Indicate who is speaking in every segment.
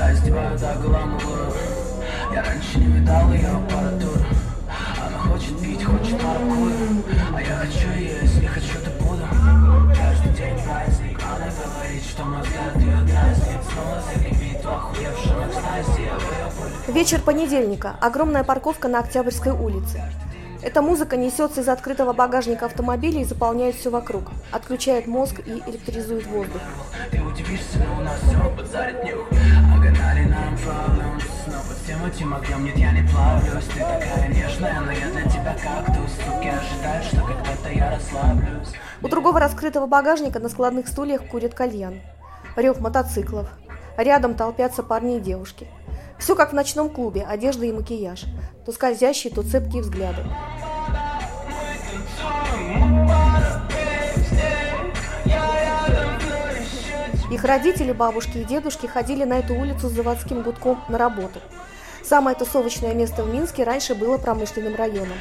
Speaker 1: Раздеваю до гламура Я раньше не видал ее аппаратуру Она хочет пить, хочет маркур А я хочу ее, если хочу, то буду Каждый день праздник Она говорит, что мозга от ее дразнит Снова закипит в охуевшем экстазе Я в ее поле
Speaker 2: Вечер понедельника. Огромная парковка на Октябрьской улице. Эта музыка несется из открытого багажника автомобиля и заполняет все вокруг. Отключает мозг и электризует воздух.
Speaker 1: Ты удивишься, но у нас все под зарядню Огонали А нам problems Снова тема тем огнем, нет, я не плавлюсь Ты такая нежная, но я для тебя кактус Суки ожидают, что когда-то я расслаблюсь
Speaker 2: У другого раскрытого багажника на складных стульях курит кальян. Рев мотоциклов. Рядом толпятся парни и девушки. Все как в ночном клубе, одежда и макияж. То скользящие, то цепкие взгляды. Их родители, бабушки и дедушки ходили на эту улицу с заводским гудком на работу. Самое тусовочное место в Минске раньше было промышленным районом.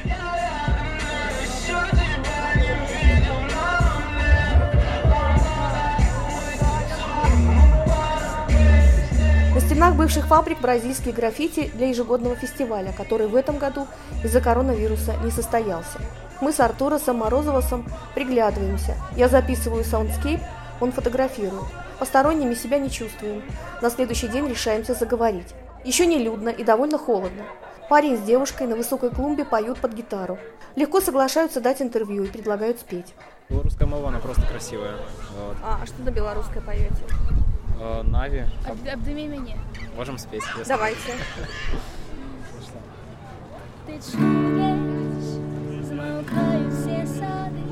Speaker 2: На стенах бывших фабрик бразильские граффити для ежегодного фестиваля, который в этом году из-за коронавируса не состоялся. Мы с Артуросом Морозовосом приглядываемся. Я записываю саундскейп, он фотографирует. Посторонними себя не чувствуем. На следующий день решаемся заговорить. Еще не людно и довольно холодно. Парень с девушкой на высокой клумбе поют под гитару. Легко соглашаются дать интервью и предлагают спеть.
Speaker 3: Белорусская мова, она просто красивая. Вот.
Speaker 2: А, что на белорусской поете?
Speaker 3: Э, Нави,
Speaker 4: Аб- Обдыми меня.
Speaker 3: можем спеть, если
Speaker 2: Давайте.
Speaker 3: слышно.
Speaker 4: Ты чуєш, змовкають всі сади,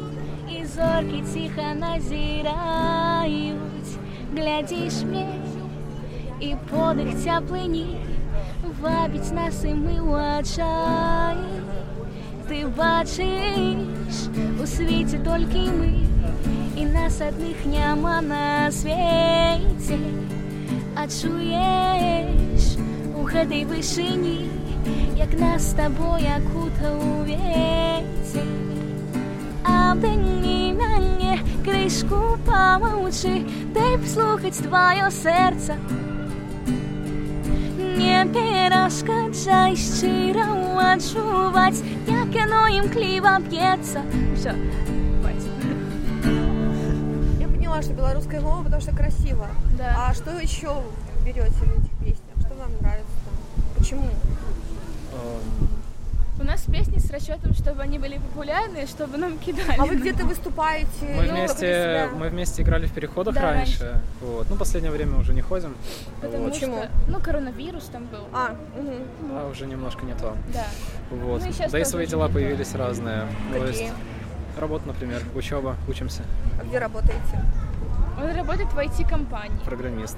Speaker 4: і зорки тихо назирають. Глядишь мне, і подих тяплині вабить нас і ми у очаї. Ти бачиш, у світі тільки ми, і нас одних няма на світі. А чуєш у гэтай вышыні, як нас з табой акутаў вецер. Абдыні мяне крышку памаўчы, дай слухаць тваё сэрца. Не перашкаджай шчыра адчуваць, як яно імкліва б'ецца. Всё, хватит.
Speaker 5: Я поняла, что белорусская мова, потому что красиво.
Speaker 4: Да.
Speaker 5: А что еще вы берете в этих песнях? Что вам нравится там? Почему?
Speaker 3: Эм,
Speaker 6: У нас песни с расчетом, чтобы они были популярны, чтобы нам кидали.
Speaker 5: А вы где-то выступаете?
Speaker 3: Мы
Speaker 5: ну,
Speaker 3: вместе, э,
Speaker 5: вокруг себя?
Speaker 3: мы вместе играли в переходах
Speaker 6: Да,
Speaker 3: раньше. Вот. Ну, последнее время уже не ходим.
Speaker 6: Потому
Speaker 3: вот.
Speaker 5: Почему?
Speaker 6: что, ну, коронавирус там был.
Speaker 5: А, мгм.
Speaker 3: Да, уже немножко не то.
Speaker 6: Да.
Speaker 3: Вот.
Speaker 6: Ну, и сейчас
Speaker 3: да и
Speaker 6: тоже
Speaker 3: свои
Speaker 6: уже
Speaker 3: дела
Speaker 6: не то.
Speaker 3: появились разные. Ну, То
Speaker 5: Какие?
Speaker 3: есть работа, например, учеба, учимся,
Speaker 5: А где работаете?
Speaker 6: Он работает в IT-компании.
Speaker 3: программист.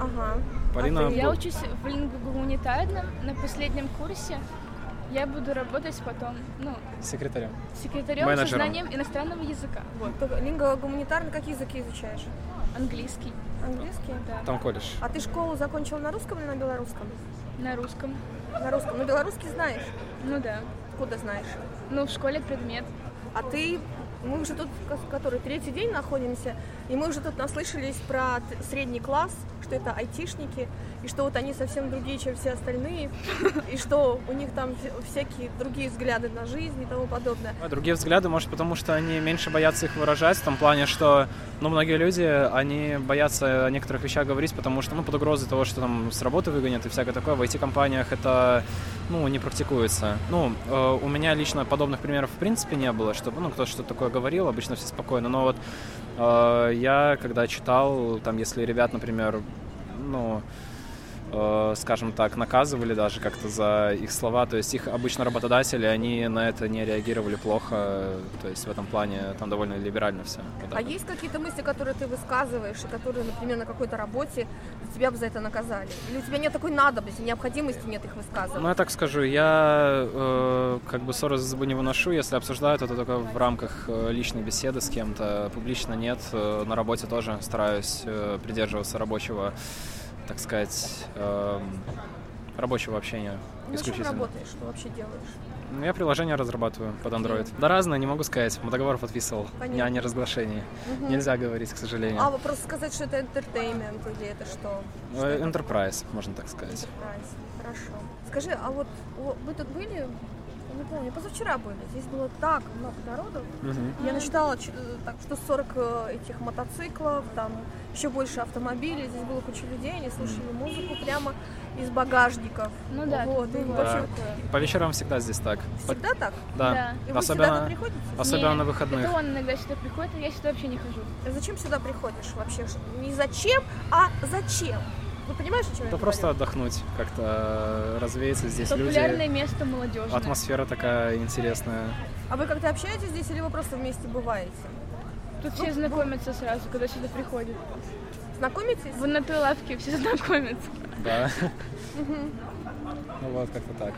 Speaker 5: Ага.
Speaker 3: Полина,
Speaker 5: ты?
Speaker 6: Я
Speaker 3: бу-
Speaker 6: учусь в лингвогуманитарном на последнем курсе. Я буду работать потом, ну,
Speaker 3: секретарем.
Speaker 6: секретарем со
Speaker 3: Менеджером.
Speaker 6: знанием иностранного языка. Вот,
Speaker 5: Ты лингвогуманитарно какие языки изучаешь?
Speaker 6: английский,
Speaker 5: Английский?
Speaker 6: да,
Speaker 3: Там колледж.
Speaker 5: А ты школу закончил на русском или на белорусском?
Speaker 6: на русском.
Speaker 5: На русском. Ну, белорусский знаешь.
Speaker 6: Ну да.
Speaker 5: Откуда знаешь?
Speaker 6: Ну, в школе предмет.
Speaker 5: А ты... Мы уже тут, ко- который третий день находимся, и мы уже тут наслышались про т- средний класс, что это айтишники, и что вот они совсем другие, чем все остальные, и что у них там вся- всякие другие взгляды на жизнь и тому подобное.
Speaker 3: А Другие взгляды, может, потому что они меньше боятся их выражать, в том плане, что, ну, многие люди, они боятся о некоторых вещах говорить, потому что, ну, под угрозой того, что там с работы выгонят и всякое такое, в IT-компаниях это, ну, не практикуется. Ну, э, у меня лично подобных примеров в принципе не было, чтобы, ну, кто что-то такое говорил, обычно все спокойно, но вот э, я, когда читал, там, если ребят, например, ну, э, скажем так, наказывали даже как-то за их слова. То есть их обычно работодатели, они на это не реагировали плохо. То есть в этом плане там довольно либерально все.
Speaker 5: А есть какие-то мысли, которые ты высказываешь, и которые, например, на какой-то работе тебя бы за это наказали? Или у тебя нет такой надобности, необходимости нет их
Speaker 3: Ну,
Speaker 5: высказывать?
Speaker 3: я так скажу, я э, как бы ссоры за зубы не выношу, если обсуждаю, то это только в рамках э, личной беседы с кем-то, публично нет, Э, на работе тоже стараюсь э, придерживаться рабочего, так сказать, эм, рабочего общения
Speaker 5: Ну, чем
Speaker 3: исключительно.
Speaker 5: работаешь, что вообще делаешь?
Speaker 3: Ну, Я приложение разрабатываю под Android. Да разное, не могу сказать. Договор подписывал. Не
Speaker 5: Понятно.
Speaker 3: о неразглашении.
Speaker 5: Мгм.
Speaker 3: Нельзя говорить, к сожалению.
Speaker 5: А, вы просто сказать, что это entertainment или это что?
Speaker 3: Э,
Speaker 5: Что это?
Speaker 3: Enterprise, можно так сказать.
Speaker 5: Enterprise. Хорошо. Скажи, а вот о, вы тут были, я не помню, позавчера были, здесь было так много народу.
Speaker 3: Мгм.
Speaker 5: Я насчитала, ч- э, так, что 40 э, этих мотоциклов, там еще больше автомобилей, здесь было куча людей, они слушали музыку прямо из багажников.
Speaker 6: Ну да,
Speaker 5: Вот,
Speaker 6: тут
Speaker 5: и
Speaker 6: бывает
Speaker 5: вообще
Speaker 6: такое.
Speaker 3: По вечерам всегда здесь так. По-
Speaker 5: Всегда так?
Speaker 3: Да.
Speaker 5: И вы всегда
Speaker 3: Особенно,
Speaker 5: тут приходите?
Speaker 3: особенно
Speaker 6: Не,
Speaker 3: на выходных.
Speaker 6: Это он иногда сюда приходит, а я сюда вообще не хожу.
Speaker 5: А Зачем сюда приходишь вообще? Ш- Не зачем, а зачем? Вы понимаешь, о чем
Speaker 3: Да
Speaker 5: я говорю?
Speaker 3: просто отдохнуть, как-то э, развеяться. Здесь
Speaker 6: Популярное
Speaker 3: люди.
Speaker 6: место молодежное.
Speaker 3: Атмосфера такая интересная.
Speaker 5: А вы когда общаетесь здесь или вы просто вместе бываете? Ну,
Speaker 6: Тут все знакомятся сразу, когда сюда приходят.
Speaker 5: Знакомитесь?
Speaker 6: Вон на той лавке все знакомятся.
Speaker 3: Да. Ну вот, как-то так.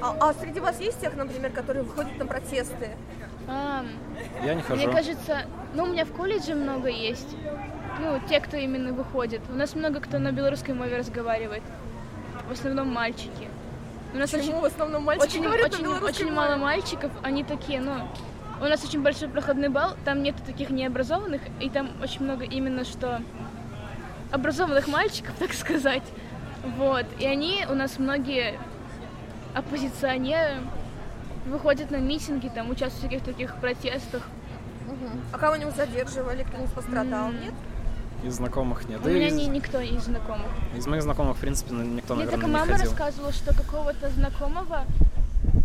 Speaker 5: А, а среди вас есть тех, например, которые выходят на протесты?
Speaker 6: А,
Speaker 3: Я не
Speaker 6: мне
Speaker 3: хожу.
Speaker 6: кажется, ну у меня в колледже много есть. Ну, те, кто именно выходит. У нас много кто на белорусской мове разговаривает. В основном мальчики. У нас очень-
Speaker 5: Почему в основном мальчики
Speaker 6: Очень,
Speaker 5: говорят
Speaker 6: очень,
Speaker 5: на белорусском
Speaker 6: очень мало мальчиков, они такие, ну, у нас очень большой проходный балл, там нету таких необразованных, и там очень много именно что образованных мальчиков, так сказать. Вот, и они у нас многие оппозиционеры выходят на митинги, там участвуют в всяких таких протестах.
Speaker 5: А кого-нибудь задерживали, кто-нибудь пострадал,
Speaker 6: М.
Speaker 5: нет?
Speaker 3: Из знакомых нет.
Speaker 6: У
Speaker 3: Да и
Speaker 6: меня
Speaker 3: из,
Speaker 6: ни- никто из знакомых.
Speaker 3: из моих знакомых, в принципе, никто,
Speaker 6: Мне
Speaker 3: наверное,
Speaker 6: только
Speaker 3: не
Speaker 6: мама
Speaker 3: ходил.
Speaker 6: рассказывала, что какого-то знакомого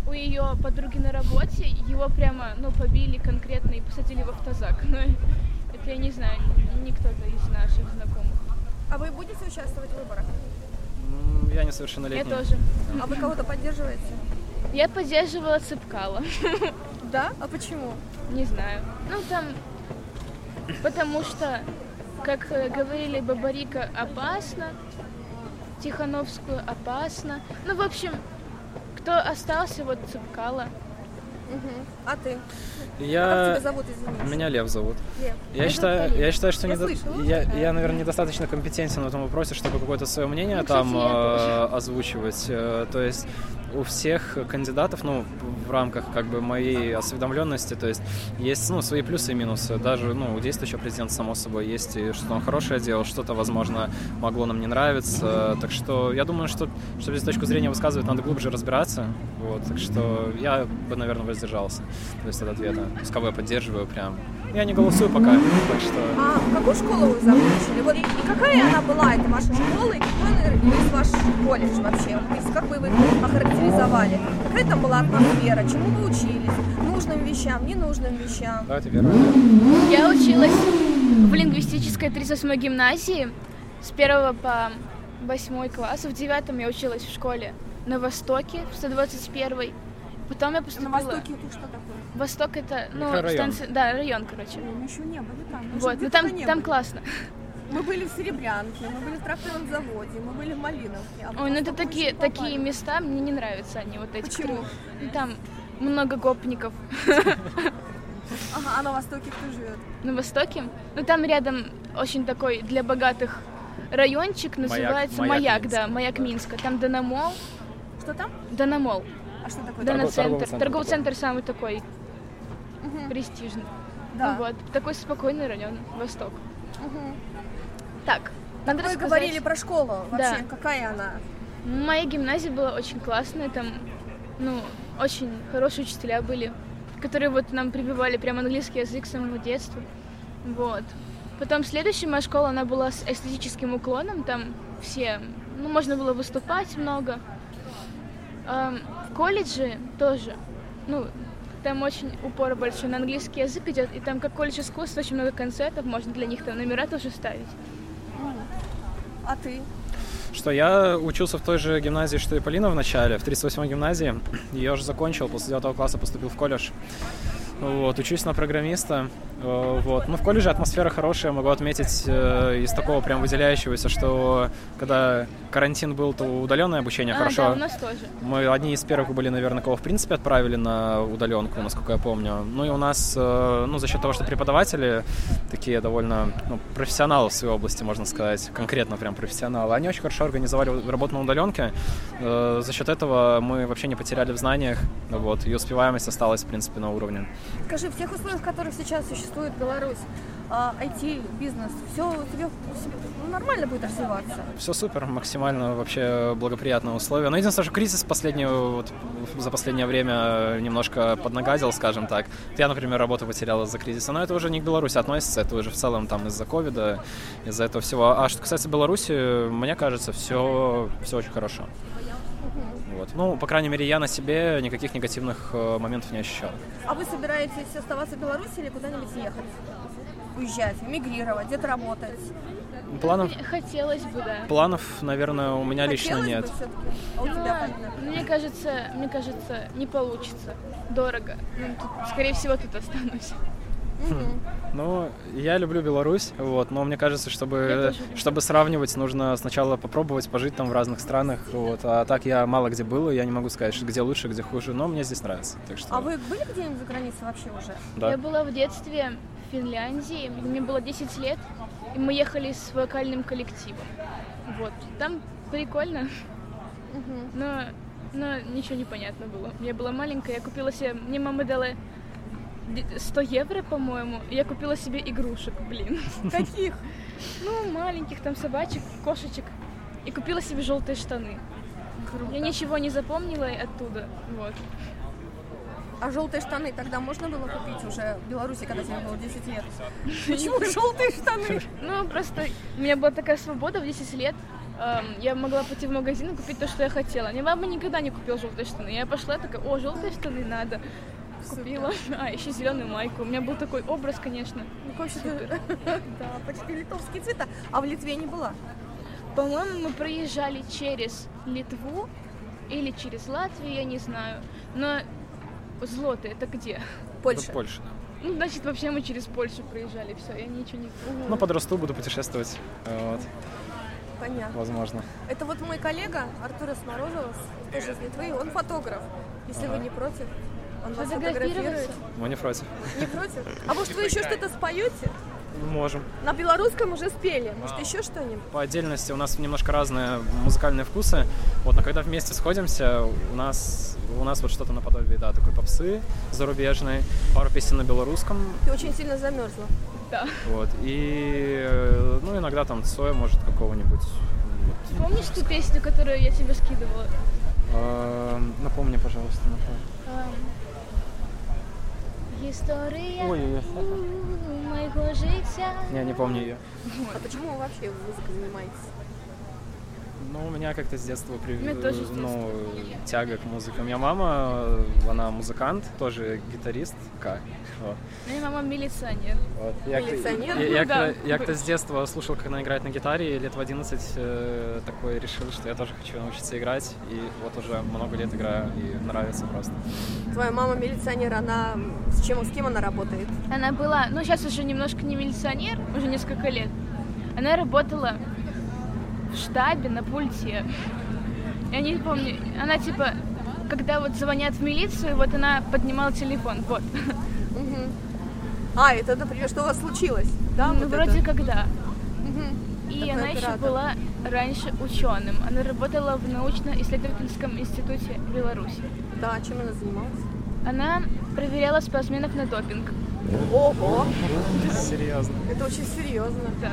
Speaker 6: у ее подруги на работе его прямо, ну, побили конкретно и посадили в автозак. Но это я не знаю, не кто-то из наших знакомых.
Speaker 5: А вы будете участвовать в выборах?
Speaker 3: М, Я
Speaker 6: Я
Speaker 3: несовершеннолетний.
Speaker 6: тоже.
Speaker 5: А вы кого-то поддерживаете?
Speaker 6: Я поддерживала Цыпкала.
Speaker 5: Да? А почему?
Speaker 6: Не знаю. Ну, там... Потому что, как э, говорили, Бабарика опасно, Тихановскую опасно. Ну, в общем, кто остался, вот Цыпкала.
Speaker 5: Мгм. А ты? А Как тебя
Speaker 3: Я...
Speaker 5: зовут, извини?
Speaker 3: Меня Лев зовут.
Speaker 5: Лев.
Speaker 3: Я считаю, я считаю, что
Speaker 5: Я
Speaker 3: недо-
Speaker 5: слышала.
Speaker 3: я, я, наверное, недостаточно компетентен в этом вопросе, чтобы какое-то свое мнение
Speaker 6: Ну, кстати,
Speaker 3: там
Speaker 6: я
Speaker 3: э, озвучивать. Э, то есть у всех кандидатов, ну, в рамках как бы моей осведомленности, то есть есть, ну, свои плюсы и минусы. Даже, ну, у действующего президента, само собой, есть и что-то он хорошее делал, что-то, возможно, могло нам не нравиться. Так что я думаю, что, чтобы здесь точку зрения высказывать, надо глубже разбираться. Вот, так что я бы, наверное, воздержался, то есть от ответа. С кого я поддерживаю прям. Я не голосую пока, так что...
Speaker 5: А какую школу вы закончили? Вот, и какая она была, эта ваша школа, и какой он из ваш колледж вообще? То есть как бы вы его охарактеризовали? Какая там была атмосфера? Чему вы учились? А Нужным вещам, ненужным вещам?
Speaker 3: Да, это верно.
Speaker 6: Я училась в лингвистической 38-й гимназии с 1 по 8 класс. В 9 я училась в школе на Востоке, в 121 Потом я
Speaker 5: На
Speaker 6: поступила...
Speaker 5: Востоке это что такое?
Speaker 6: Восток это, ну,
Speaker 3: Микрорайон.
Speaker 6: станция... Да, район, короче.
Speaker 5: Мы еще не были там. Мы
Speaker 6: Вот,
Speaker 5: же
Speaker 6: ну
Speaker 5: где-то
Speaker 6: там,
Speaker 5: не
Speaker 6: там
Speaker 5: были.
Speaker 6: классно.
Speaker 5: Мы были в Серебрянке, мы были в тракторном заводе, мы были в Малиновке. а
Speaker 6: Ой, ну это
Speaker 5: потом мы
Speaker 6: такие,
Speaker 5: еще попали.
Speaker 6: такие места, мне не нравятся они, вот эти.
Speaker 5: Почему?
Speaker 6: которые- Ну, Там много гопников
Speaker 5: Ага, а на Востоке кто живет?
Speaker 6: на Востоке. Ну там рядом очень такой для богатых райончик, называется
Speaker 3: Маяк
Speaker 6: Маяк,
Speaker 3: Минска,
Speaker 6: да, Маяк
Speaker 3: да.
Speaker 6: Минска. Там Дономол,
Speaker 5: Что там?
Speaker 6: Дономол.
Speaker 5: А что такое?
Speaker 3: Да.
Speaker 6: Донат
Speaker 3: торговый
Speaker 6: центр.
Speaker 3: центр
Speaker 6: Торговый
Speaker 3: такой.
Speaker 6: центр самый такой
Speaker 5: Мгм.
Speaker 6: престижный.
Speaker 5: Да.
Speaker 6: Ну вот, такой спокойный район, Восток. Так,
Speaker 5: Так
Speaker 6: надо
Speaker 5: вы
Speaker 6: рассказать.
Speaker 5: говорили про школу вообще,
Speaker 6: Да.
Speaker 5: какая она?
Speaker 6: Моя гимназия была очень классная, там, ну, очень хорошие учителя были, которые вот нам прививали прям английский язык с самого детства. Вот. Потом следующая моя школа, она была с эстетическим уклоном, там все, ну, можно было выступать много. Ам, в колледже тоже, ну, там очень упор большой на английский язык идет, и там как колледж искусств очень много концертов, можно для них там номера тоже ставить.
Speaker 5: А ты?
Speaker 3: Что я учился в той же гимназии, что и Полина в начале, в 38-й гимназии. Ее же закончил, после 9 класса поступил в колледж. Вот, учусь на программиста. Э, Вот. Ну, в колледже атмосфера хорошая, могу отметить э, из такого прям выделяющегося, что когда карантин был, то удаленное обучение
Speaker 6: А,
Speaker 3: хорошо.
Speaker 6: да, у нас тоже.
Speaker 3: Мы одни из первых были, наверное, кого в принципе отправили на удаленку, насколько я помню. Ну и у нас, э, ну, за счет того, что преподаватели такие довольно ну, профессионалы в своей области, можно сказать, конкретно прям профессионалы, они очень хорошо организовали работу на удаленке. Э, За счет этого мы вообще не потеряли в знаниях, вот, и успеваемость осталась, в принципе, на уровне.
Speaker 5: Скажи, в тех условиях, в которых сейчас существует Беларусь, а, IT, бизнес, все у тебя у себя- ну, нормально будет развиваться?
Speaker 3: Все супер, максимально вообще благоприятные условия. Но единственное, что кризис последний, вот, за последнее время немножко поднагадил, скажем так. Я, например, работу потерял из-за кризиса, но это уже не к Беларуси относится, это уже в целом там из-за ковида, из-за этого всего. А что касается Беларуси, мне кажется, все, все очень хорошо. Вот. Ну, по крайней мере, я на себе никаких негативных э, моментов не ощущал.
Speaker 5: А вы собираетесь оставаться в Беларуси или куда-нибудь ехать? Уезжать, мигрировать, где-то работать?
Speaker 3: Планов,
Speaker 6: Хотелось бы, да.
Speaker 3: планов наверное, у меня лично
Speaker 5: Хотелось
Speaker 3: нет.
Speaker 5: бы все-таки? А у
Speaker 6: Ну,
Speaker 5: тебя, Полина?
Speaker 6: Мне кажется, мне кажется, не получится. Дорого. Ну, тут, скорее всего, тут останусь.
Speaker 3: Ну, я люблю Беларусь, вот, но мне кажется,
Speaker 6: Я
Speaker 3: чтобы,
Speaker 6: тоже люблю.
Speaker 3: чтобы сравнивать, нужно сначала попробовать пожить там в разных странах, вот, а так я мало где был, и я не могу сказать, что где лучше, где хуже, но мне здесь нравится, так что,
Speaker 5: А вы были где-нибудь за границей вообще уже?
Speaker 3: да.
Speaker 6: Я была в детстве в Финляндии, мне было 10 лет, и мы ехали с вокальным коллективом. Вот. Там прикольно, но, но ничего не понятно было. Я была маленькая, я купила себе... Мне мама дала д- 100 евро, по-моему, и я купила себе игрушек, блин.
Speaker 5: Каких?
Speaker 6: Ну, маленьких там собачек, кошечек. И купила себе желтые штаны. Я ничего не запомнила оттуда. Вот.
Speaker 5: А желтые штаны тогда можно было купить уже в Беларуси, когда тебе было 10 лет? Почему желтые штаны?
Speaker 6: Ну, просто у меня была такая свобода в 10 лет. Эм, Я могла пойти в магазин и купить то, что я хотела. Мне мама никогда не купила желтые штаны. Я пошла такая, о, желтые штаны надо. Купила. А, еще зеленую майку. У меня был такой образ, конечно.
Speaker 5: Ну, вообще, да, почти литовские цвета. А в Литве не была?
Speaker 6: По-моему, мы проезжали через Литву или через Латвию, я не знаю. Но злоты это где?
Speaker 3: Ну,
Speaker 5: Польша.
Speaker 3: Польша, да.
Speaker 6: Ну, значит, вообще мы через Польшу проезжали, все, я ничего не...
Speaker 3: Ну, подрасту, буду путешествовать, вот,
Speaker 5: Понятно.
Speaker 3: возможно.
Speaker 5: Это вот мой коллега Артурас Морозовос, тоже из Литвы, он фотограф. Если вы не против, он вас фотографирует.
Speaker 6: Фотографироваться?
Speaker 3: Мы не против.
Speaker 5: Не против? А может вы еще что-то споете?
Speaker 3: Можем.
Speaker 5: На белорусском уже спели. Может еще что-нибудь?
Speaker 3: По отдельности у нас немножко разные музыкальные вкусы, вот, но когда вместе сходимся, у нас, у нас вот что-то наподобие, да, такой попсы зарубежной, пару песен на белорусском,
Speaker 5: Ты очень сильно замерзла.
Speaker 6: Да.
Speaker 3: Вот, и, э, ну, иногда там Цоя, может, какого-нибудь. вот.
Speaker 6: Помнишь ту песню, которую я тебе скидывала?
Speaker 3: Эм, Напомни, пожалуйста, напомни.
Speaker 6: Эм, История
Speaker 3: Ой-ой-ой.
Speaker 4: Моего життя.
Speaker 3: Не, не помню ее.
Speaker 5: А почему вы вообще музыкой занимаетесь?
Speaker 3: Ну, у меня как-то с детства при...
Speaker 6: Мне тоже с
Speaker 3: ну, тяга к музыке. У меня мама, э, она музыкант, тоже гитарист. Как? Вот.
Speaker 6: Моя мама милиционер.
Speaker 3: Вот. Я, как-
Speaker 5: Милиционер?
Speaker 3: я-
Speaker 6: Ну
Speaker 3: я
Speaker 6: да.
Speaker 3: как-то- я как-то с детства слушал, как она играет на гитаре, и лет в 11 э, такой решил, что я тоже хочу научиться играть, и вот уже много лет играю, и нравится просто.
Speaker 5: Твоя мама милиционер, она с чем, с кем она работает?
Speaker 6: Она была, ну, сейчас уже немножко не милиционер, уже несколько лет. Она работала в штабе на пульте. Я не помню, она типа, когда вот звонят в милицию, вот она поднимала телефон, вот.
Speaker 5: А, это, например, что у вас случилось? Да,
Speaker 6: ну,
Speaker 5: вот
Speaker 6: вроде
Speaker 5: это.
Speaker 6: как да. И
Speaker 5: Такой
Speaker 6: она еще
Speaker 5: оператор.
Speaker 6: была раньше ученым. Она работала в научно-исследовательском институте Беларуси.
Speaker 5: Да, чем она занималась?
Speaker 6: Она проверяла спортсменов на допинг.
Speaker 5: Ого,
Speaker 3: Серьезно.
Speaker 5: это очень серьезно.
Speaker 6: Да.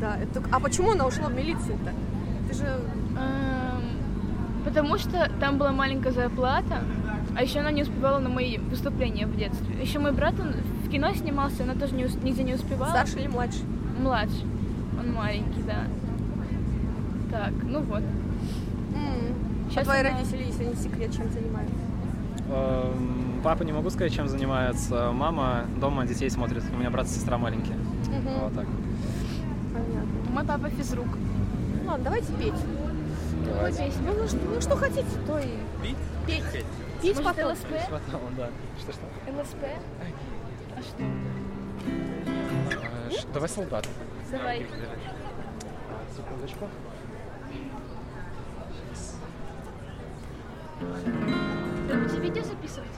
Speaker 5: Да, это... А почему она ушла в милицию-то? Ты же
Speaker 6: Эм, Потому что там была маленькая зарплата, а еще она не успевала на мои выступления в детстве. Еще мой брат, он в кино снимался, она тоже не ус- нигде не успевала.
Speaker 5: старше или младше?
Speaker 6: Младший. Он маленький, да. Так, ну вот.
Speaker 5: М. А
Speaker 6: Сейчас
Speaker 5: твои
Speaker 6: она-
Speaker 5: родители, если не секрет, чем занимаются?
Speaker 3: Эм, Папа не могу сказать, чем занимается. Мама дома детей смотрит. У меня брат и сестра маленькие. Ну, Вот так.
Speaker 5: Понятно.
Speaker 6: Мой папа физрук.
Speaker 5: Ладно, давайте Ну, петь.
Speaker 6: Какую
Speaker 3: запевать.
Speaker 6: песню?
Speaker 5: Ну, что, ну, что хотите, то и петь. Петь
Speaker 6: Может,
Speaker 5: потом.
Speaker 6: ЛСП?
Speaker 3: Потом, да. Что-что?
Speaker 6: ЛСП? А что?
Speaker 3: Э, ш- Давай солдат.
Speaker 6: Давай.
Speaker 3: А, Секундочку.
Speaker 6: Ты будете видео записывать?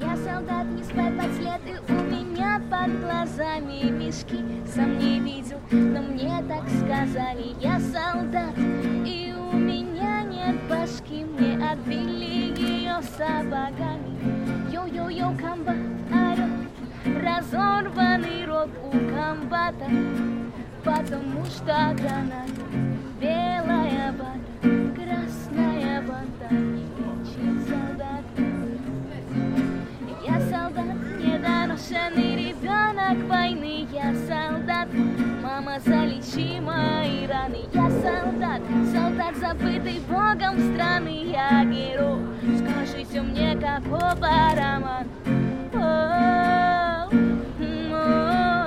Speaker 4: Я солдат, не спать под след, и у меня под глазами мешки Сам не видел, но мне так сказали Я солдат, и у меня нет башки Мне отбили ее сапогами Йо-йо-йо, комбат орет Разорванный рот у комбата Потому что она белая банда, красная банда, не учит солдат. Я солдат, недоношенный ребенок войны, я солдат. Мама, залечи мои раны, я солдат, солдат, забытый богом страны, я герой. Скажите мне, какого роман? О, м, о.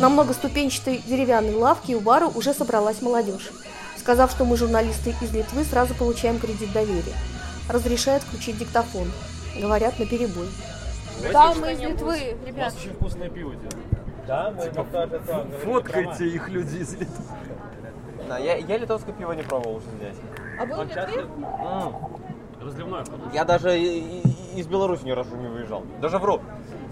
Speaker 2: На многоступенчатой деревянной лавке у бара уже собралась молодежь. Сказав, что мы журналисты из Литвы, сразу получаем кредит доверия. Разрешают включить диктофон. Говорят на перебой.
Speaker 5: Да, мы из Литвы, ребят.
Speaker 7: Очень вкусное пиво делают.
Speaker 8: Типа Фоткайте их, люди из Литвы.
Speaker 9: Да, я, я литовское пиво не пробовал уже здесь.
Speaker 5: А вы из Литвы?
Speaker 7: Разливное вкусное.
Speaker 9: Я даже и- и- из Беларуси ни разу не выезжал. Даже вру.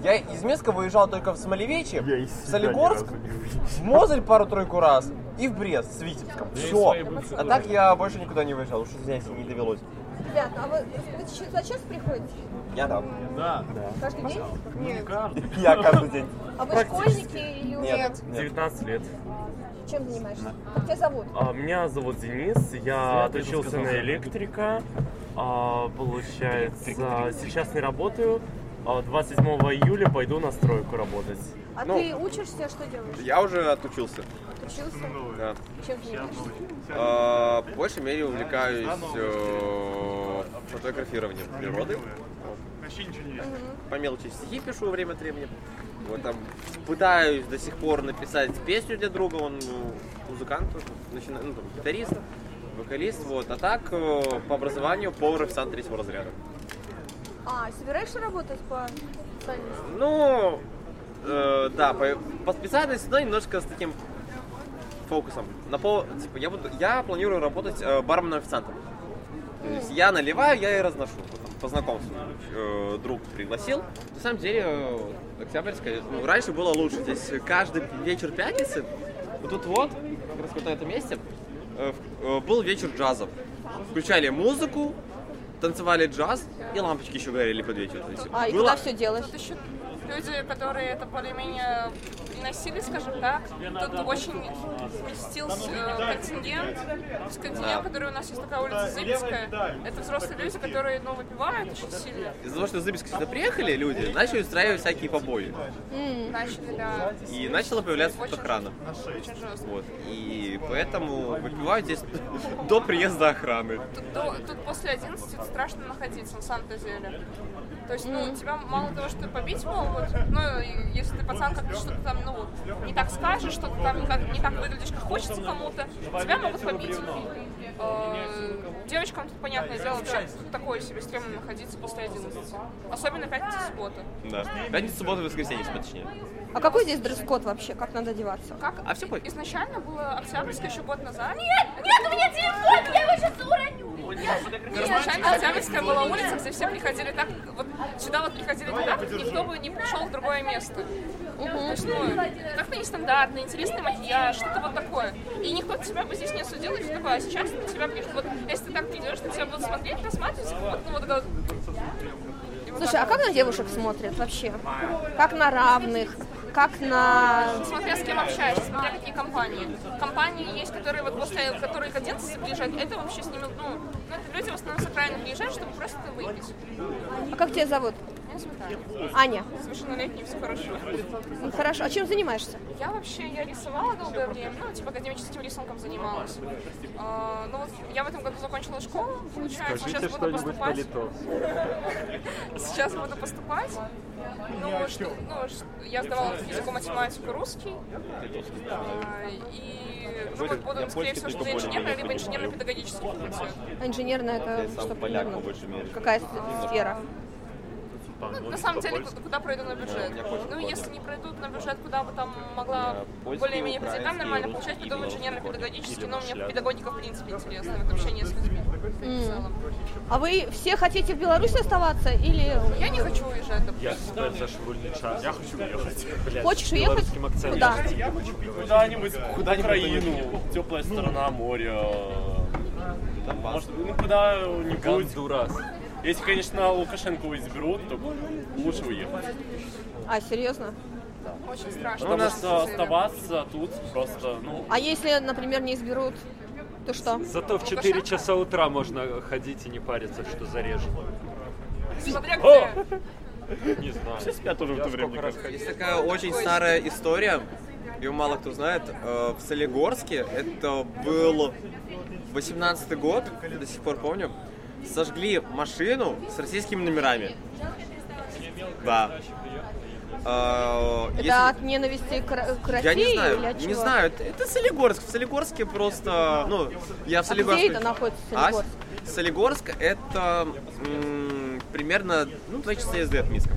Speaker 9: Я из Минска выезжал только в Смолевичи, в Солигорск, в Мозырь пару-тройку раз и в Брест с Витебском.
Speaker 7: из
Speaker 9: Все.
Speaker 7: своей бывшей
Speaker 9: А так я больше никуда не выезжал, уж здесь и не довелось.
Speaker 5: Ребят, а вы, вы ч- за час приходите?
Speaker 9: Я да.
Speaker 7: Да,
Speaker 5: Каждый день? Нет.
Speaker 7: каждый.
Speaker 9: Я каждый день.
Speaker 5: А вы школьники или уже
Speaker 9: Нет, нет.
Speaker 8: 19 лет.
Speaker 5: чем занимаешься? Как тебя зовут?
Speaker 8: А, Меня зовут Денис, я отучился на электрика. А, Получается, сейчас не работаю. А, 27 июля пойду на стройку работать.
Speaker 5: А
Speaker 9: Ну.
Speaker 5: ты учишься, что делаешь?
Speaker 10: Я уже отучился.
Speaker 5: Отучился?
Speaker 10: Да.
Speaker 5: Чем занимаешься?
Speaker 10: А, по большей мере увлекаюсь э, фотографированием природы. По мелочи стихи пишу время от времени. Вот там пытаюсь до сих пор написать песню для друга, он ну, музыкант, тоже, начина- ну, там, гитарист, вокалист, вот. А так э, по образованию повар официант третьего разряда.
Speaker 5: А, собираешься работать по специальности?
Speaker 10: Ну, э, да, по, по специальности, но немножко с таким фокусом. На пол, типа, я, буду, я планирую работать э, барменным официантом. То есть я наливаю, я и разношу. Вот там по знакомству э, друг пригласил. На самом деле, э, Октябрьская, ну, раньше было лучше. Здесь каждый вечер пятницы, вот тут вот, как раз вот на этом месте, э, в- э, был вечер джазов. Включали музыку, танцевали джаз, и лампочки еще горели под вечер. То есть
Speaker 5: А, и
Speaker 10: было-
Speaker 5: куда все делаешь?
Speaker 11: Тут еще люди, которые это более-менее приносили, скажем так. Тут очень сместился э, контингент. То есть контингент, который у нас есть такая улица Зыбинская, это взрослые люди, которые, ну, выпивают очень сильно.
Speaker 10: Из-за того, что в Зыбиске сюда приехали люди, начали устраивать всякие побои.
Speaker 11: Начали, да,
Speaker 10: И начала появляться тут охрана.
Speaker 11: очень жестко.
Speaker 10: Вот. И поэтому выпивают здесь до приезда охраны.
Speaker 11: Тут, до- тут после 11 страшно находиться, на самом-то деле. То есть, ну, тебя мало того, что побить могут, ну, и если ты пацан как-то что-то там, ну, не так скажешь, что ты там не так, не так выглядишь, как хочется кому-то, тебя могут побить. Э, Девочкам тут, понятное дело, вообще такое себе стрёмно находиться после 11. Особенно пятница суббота.
Speaker 10: Да. Пятница, суббота, воскресенье, если точнее.
Speaker 5: А какой здесь дресс-код вообще? Как надо одеваться?
Speaker 11: Как
Speaker 10: А всё понятно.
Speaker 11: изначально было октябрьское еще год назад.
Speaker 4: Нет, у меня телефон, я его сейчас уроню.
Speaker 11: Горожане Октябрьская была улица, где все приходили так, вот сюда вот приходили туда, как никто бы не пришел в другое место. То есть, ну, как-то нестандартный, интересный макияж, что-то вот такое. И никто тебя бы здесь не осудил, и ты такой, а сейчас на тебя приедут, вот если ты так идешь, то тебя будут смотреть, рассматривать, как вот, ну, вот, как- и вот
Speaker 2: Слушай, а
Speaker 11: так
Speaker 2: как на девушек смотрят вообще? Как на равных? Как на...
Speaker 11: Смотря с кем общаешься, смотря какие компании. Компании есть, которые вот после которых оденцы приезжают, это вообще с ними, ну, ну, это люди в основном с окраины приезжают, чтобы просто выпить.
Speaker 2: А как тебя зовут?
Speaker 11: Я Светлана.
Speaker 2: Аня.
Speaker 11: Совершеннолетний, все хорошо.
Speaker 2: Ну, Хорошо. А чем занимаешься?
Speaker 11: Я вообще, я рисовала долгое время, ну, типа академическим рисунком занималась. А, ну, вот я в этом году закончила школу, получается, сейчас буду поступать. Сейчас буду поступать. Ну, что, ну, ш- я сдавала физику, математику, русский. А, И ну, вот буду, скорее всего, что за инженерное, либо инженерно-педагогический факультет.
Speaker 2: А Инженерная это что примерно? Какая с- сфера?
Speaker 8: типа,
Speaker 11: Ну, на самом деле, куда, куда пройду на бюджет? Ну, если не пройдут на бюджет, куда бы там могла
Speaker 12: польский,
Speaker 11: более-менее по деньгам
Speaker 12: украинский,
Speaker 11: нормально
Speaker 12: русский
Speaker 11: получать,
Speaker 12: и
Speaker 11: пойду в
Speaker 12: белорусский
Speaker 11: инженерно-педагогический, но мне
Speaker 2: шляпа.
Speaker 11: педагогика, в принципе, интересна, вот общение с людьми в
Speaker 2: М.
Speaker 11: целом.
Speaker 2: А вы все хотите в Беларуси оставаться или...
Speaker 11: Я не хочу уезжать, допустим.
Speaker 7: Я считаю, Саша, вольный час. Я хочу уехать. Блядь,
Speaker 2: Хочешь
Speaker 7: с
Speaker 2: уехать?
Speaker 7: белорусским акцентом.
Speaker 2: Куда?
Speaker 8: Куда-нибудь,
Speaker 7: Куда-нибудь
Speaker 8: Украину, теплая
Speaker 7: Ну.
Speaker 8: страна, море, э, может, ну куда-нибудь. Если, конечно, Лукашенко изберут, то лучше уехать.
Speaker 2: А, серьезно?
Speaker 11: Очень страшно.
Speaker 8: Потому что оставаться тут просто, ну,
Speaker 2: А если, например, не изберут, то что?
Speaker 7: Зато в 4 часа утра можно ходить и не париться, что зарежут.
Speaker 11: Смотря
Speaker 7: О!
Speaker 11: где.
Speaker 7: Не знаю.
Speaker 8: Все спят уже в
Speaker 7: Я
Speaker 8: это время,
Speaker 7: сколько раз
Speaker 8: кажется.
Speaker 7: ходил.
Speaker 10: Есть такая очень старая история, ее мало кто знает. Э, В Солигорске, это был 18-й год, я до сих пор помню, сожгли машину с российскими номерами. Да. Э,
Speaker 2: Это
Speaker 10: если-
Speaker 2: от ненависти к, Ро- к России
Speaker 10: Я не
Speaker 2: или
Speaker 10: знаю,
Speaker 2: от
Speaker 10: не
Speaker 2: чего? А
Speaker 10: знаю, это, это Солигорск. В Солигорске просто, ну, я в
Speaker 2: А где
Speaker 10: Солигорске.
Speaker 2: это находится,
Speaker 10: А,
Speaker 2: Солигорск?
Speaker 10: Солигорск это м, примерно, ну, два часа езды от Минска.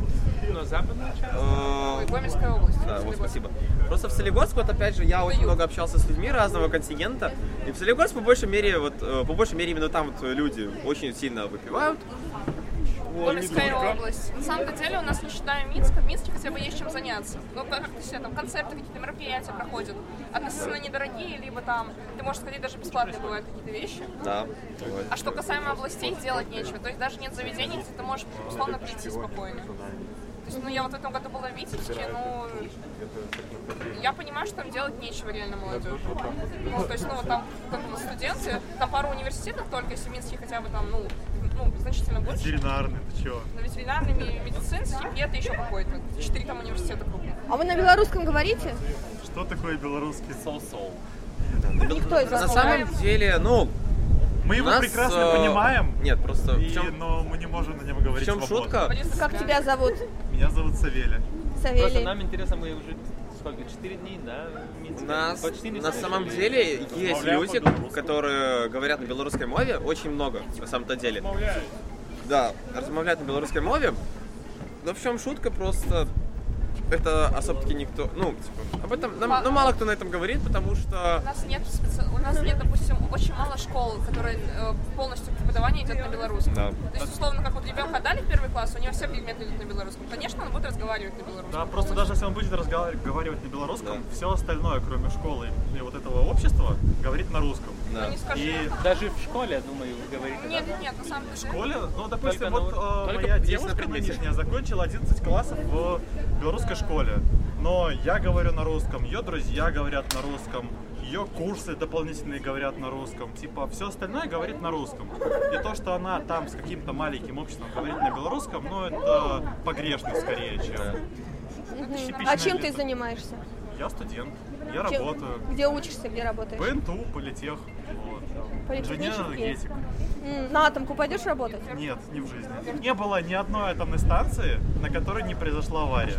Speaker 10: Э,
Speaker 11: Гомельская область.
Speaker 10: да, вот спасибо. Просто в Солигорск, вот опять же, я очень много общался с людьми разного континента. И в Солигорск, по большей мере, вот, э, по большей мере, именно там вот люди очень сильно выпивают. Вот.
Speaker 11: Гомельская область. На самом деле у нас не считаем Минска. В Минске хотя бы есть чем заняться. Ну, как как-то все там концерты, какие-то мероприятия проходят. Относительно недорогие, либо там ты можешь сходить даже бесплатные бывают какие-то вещи.
Speaker 10: Да.
Speaker 11: А что касаемо областей, делать нечего. То есть даже нет заведений, где ты можешь условно прийти спокойно. То есть, ну, я вот в этом году была в Витебске, ну, я понимаю, что там делать нечего реально молодежи. Ну, то есть, ну, вот там как бы студенты, там пару университетов только, если Минский хотя бы там, ну, ну, значительно больше.
Speaker 13: Ветеринарный, ты чё?
Speaker 11: На ветеринарный, ми- медицинский, и это еще какой-то. Четыре там университета крупных.
Speaker 2: А вы на белорусском говорите?
Speaker 13: Что такое белорусский соусол?
Speaker 2: Никто из вас
Speaker 10: На
Speaker 2: не
Speaker 10: самом
Speaker 2: знает.
Speaker 10: деле, ну,
Speaker 13: Мы его
Speaker 10: нас,
Speaker 13: прекрасно
Speaker 10: э,
Speaker 13: понимаем.
Speaker 10: Нет, просто
Speaker 13: И, но мы не можем на нем говорить
Speaker 10: в чем
Speaker 13: свободно.
Speaker 10: шутка?
Speaker 2: Как тебя зовут?
Speaker 13: Меня зовут Савелий.
Speaker 12: Просто
Speaker 2: Савелий.
Speaker 12: нам интересно, мы уже сколько, 4 дней, да? в Минске?
Speaker 10: Нас,
Speaker 12: Почти не
Speaker 10: на
Speaker 12: слышали.
Speaker 10: самом деле есть люди, которые говорят на белорусской мове, очень много на самом-то деле. Да, размовляют на белорусской мове. Но в чем шутка просто? Это особо-таки никто, ну, типа, об этом, нам- ну, мало кто на этом говорит, потому
Speaker 11: У
Speaker 10: что...
Speaker 11: нас нет, специ- у нас нет, допустим, очень мало школ, которые э, полностью преподавание идет на белорусском.
Speaker 10: Да.
Speaker 11: То есть, условно, как вот ребенка отдали в первый класс, у него все предметы идут на белорусском. Конечно, он будет разговаривать на белорусском.
Speaker 13: Да, просто даже если он будет разговаривать на белорусском, все остальное, кроме школы и вот этого общества, говорит на русском.
Speaker 10: Да.
Speaker 11: Ну, не скажу.
Speaker 13: И
Speaker 12: Даже в школе, я думаю, вы говорите.
Speaker 11: Нет, нет, нет, на самом деле. В
Speaker 13: школе, ну, допустим,
Speaker 12: Только
Speaker 13: вот
Speaker 12: на-
Speaker 13: э,
Speaker 12: только
Speaker 13: моя
Speaker 12: здесь на
Speaker 13: девушка
Speaker 12: предмете.
Speaker 13: нынешняя закончила 11 классов в белорусской школе. Но я говорю на русском, ее друзья говорят на русском, ее курсы дополнительные говорят на русском. Типа, все остальное говорит на русском. И то, что она там с каким-то маленьким обществом говорит на белорусском, ну, это погрешность скорее, чем...
Speaker 2: Мгм.
Speaker 13: Типичная
Speaker 2: А чем ты
Speaker 13: лето.
Speaker 2: занимаешься?
Speaker 13: Я студент, я
Speaker 2: Чем-
Speaker 13: работаю.
Speaker 2: Где учишься, где работаешь?
Speaker 13: В НТУ, политех. Вот. Инженер
Speaker 2: Политехнический?
Speaker 13: энергетик.
Speaker 2: М, На атомку пойдешь работать?
Speaker 13: Нет, не в жизни. Не было ни одной атомной станции, на которой не произошла авария.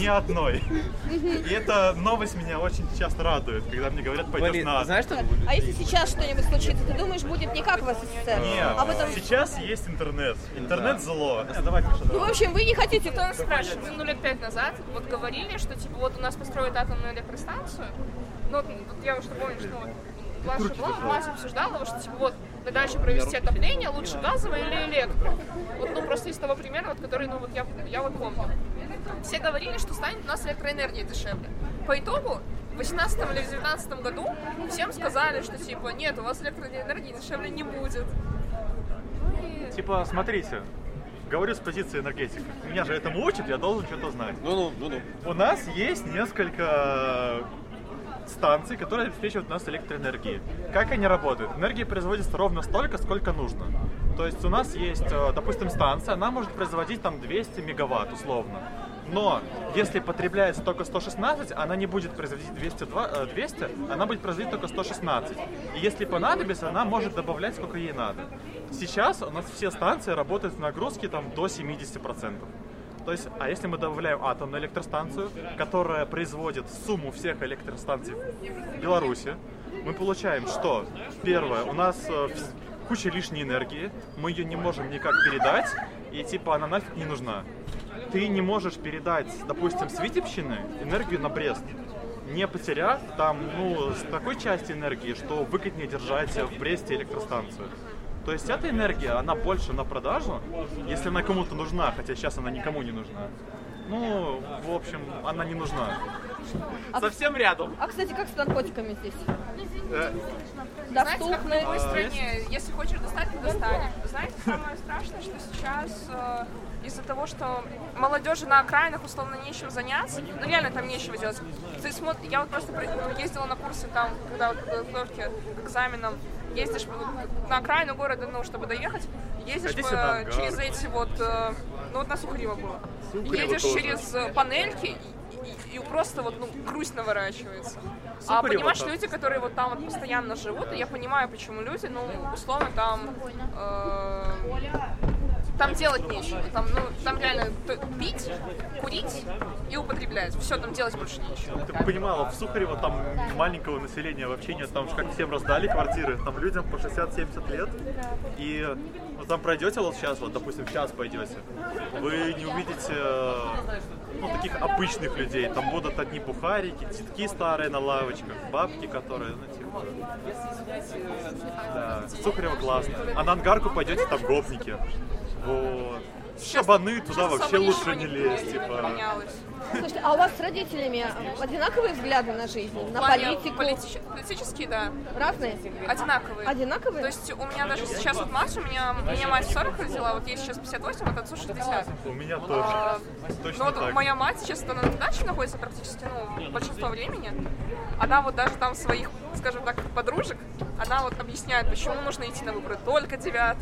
Speaker 13: Ни одной. И эта новость меня очень часто радует, когда мне говорят, пойдешь
Speaker 10: Блин,
Speaker 13: на атом.
Speaker 10: знаешь, что
Speaker 2: А если сейчас что-нибудь случится, ты думаешь, будет не как в СССР?
Speaker 13: Нет,
Speaker 2: А потом...
Speaker 13: сейчас есть интернет. Интернет зло. Не, давай, Миша,
Speaker 2: Ну, в
Speaker 13: давай.
Speaker 2: общем, вы не хотите...
Speaker 11: Кто нас спрашивает? Ну, лет пять назад вот говорили, что типа вот у нас построят атомную электростанцию. Ну, вот, вот я уже помню, что Глаша была, Глаша обсуждала, что типа вот мы дальше провести отопление, лучше газовое или электро. Вот, ну, просто из того примера, вот, который, ну, вот я, я вот помню. Все говорили, что станет у нас электроэнергия дешевле. По итогу, в 18 или в 19 году всем сказали, что типа нет, у вас электроэнергии дешевле не будет. Ну
Speaker 13: Типа, смотрите, говорю с позиции энергетика. Меня же этому учат, я должен что-то знать.
Speaker 10: Ну, ну, ну,
Speaker 13: У нас есть несколько станций, которые обеспечивают нас электроэнергией. Как они работают? Энергии производится ровно столько, сколько нужно. То есть у нас есть, э, допустим, станция, она может производить там 200 мегаватт условно. Но если потребляется только 116, она не будет производить 202, э, 200, она будет производить только 116. И если понадобится, она может добавлять сколько ей надо. Сейчас у нас все станции работают в нагрузке там до 70%. То есть, а если мы добавляем атомную электростанцию, которая производит сумму всех электростанций в Беларуси, мы получаем, что первое, у нас э, вс- куча лишней энергии, мы ее не можем никак передать, и типа она нафиг не нужна. Ты не можешь передать, допустим, с Витебщины энергию на Брест, не потеряв там, ну, с такой части энергии, что выгоднее держать в Бресте электростанцию. То есть эта энергия, она больше на продажу, если она кому-то нужна, хотя сейчас она никому не нужна. Ну, в общем, она не нужна. Совсем рядом.
Speaker 5: А, кстати, как с наркотиками здесь?
Speaker 13: Э,
Speaker 11: Знаете, как в
Speaker 5: Доступны.
Speaker 11: любой стране, если хочешь достать, ты достанешь. Знаете, самое страшное, что сейчас э, из-за того, что молодежи на окраинах условно нечем заняться, ну реально там нечего делать. Ты смотр- я вот просто при- ездила на курсы там, когда вот подготовки к экзаменам, ездишь э, на окраину города, ну, чтобы доехать, ездишь
Speaker 13: Садись
Speaker 11: э,
Speaker 13: на ангар.
Speaker 11: через эти вот, э, ну вот на Сухарева было,
Speaker 13: Сухарева
Speaker 11: едешь
Speaker 13: тоже.
Speaker 11: через э, панельки, и- и, и просто вот, ну, грусть наворачивается. а
Speaker 13: Сухарева
Speaker 11: понимаешь,
Speaker 13: там.
Speaker 11: люди, которые вот там вот постоянно живут, и я понимаю, почему люди, ну, условно, там... э, там делать нечего. Там, ну, там реально т- пить, курить и употреблять. Все, там делать больше нечего.
Speaker 13: Ты понимала, в Сухарево там маленького населения вообще нет, там же как всем раздали квартиры, там людям по 60-70 лет, и вот там пройдете вот сейчас, вот, допустим, сейчас пойдете, вы не увидите э, ну, таких обычных людей, там будут одни бухарики, детки старые на лавочках, бабки, которые, ну, типа, да, Сухарево классно. А на ангарку пойдете, там гопники, вот. Шабаны туда вообще лучше не лезть, типа.
Speaker 5: Слушайте, а у вас с родителями одинаковые взгляды на жизнь, на
Speaker 11: В плане
Speaker 5: политику?
Speaker 11: политич- Политические, да.
Speaker 5: Разные?
Speaker 11: Одинаковые.
Speaker 5: Одинаковые?
Speaker 11: То есть у меня даже сейчас вот мать, у меня, меня мать 40 родила, а вот ей сейчас 58, вот отцу 60.
Speaker 13: У меня
Speaker 11: А,
Speaker 13: тоже.
Speaker 11: Ну
Speaker 13: Точно
Speaker 11: вот
Speaker 13: так.
Speaker 11: моя мать, честно, на даче находится практически, ну, большинство времени. Она вот даже там своих, скажем так, подружек, она вот объясняет, почему нужно идти на выборы только 9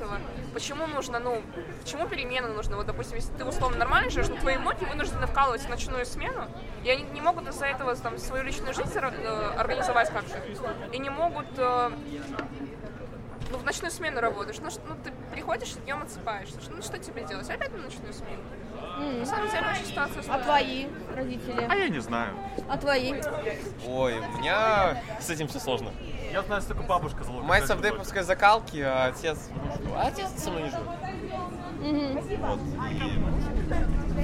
Speaker 11: почему нужно, ну, почему перемены нужны. Вот, допустим, если ты условно нормально живешь, но твои моки вынуждены вкалывать в ночную смену, и они не могут из-за этого там свою личную жизнь э, организовать как-то, и не могут э, ну, в ночную смену работаешь. Ну, ш- ну ты приходишь и днем отсыпаешься. Ш- Ну, что тебе делать? Опять на ночную смену.
Speaker 5: М.
Speaker 11: На самом деле, очень ситуация
Speaker 5: А
Speaker 11: сложная.
Speaker 5: твои родители?
Speaker 13: А я не знаю.
Speaker 5: А твои?
Speaker 10: Ой, у меня с этим все сложно.
Speaker 13: Я знаю, только бабушка злого.
Speaker 10: Мать с авдеповской закалки, а отец... А отец со мной не живет.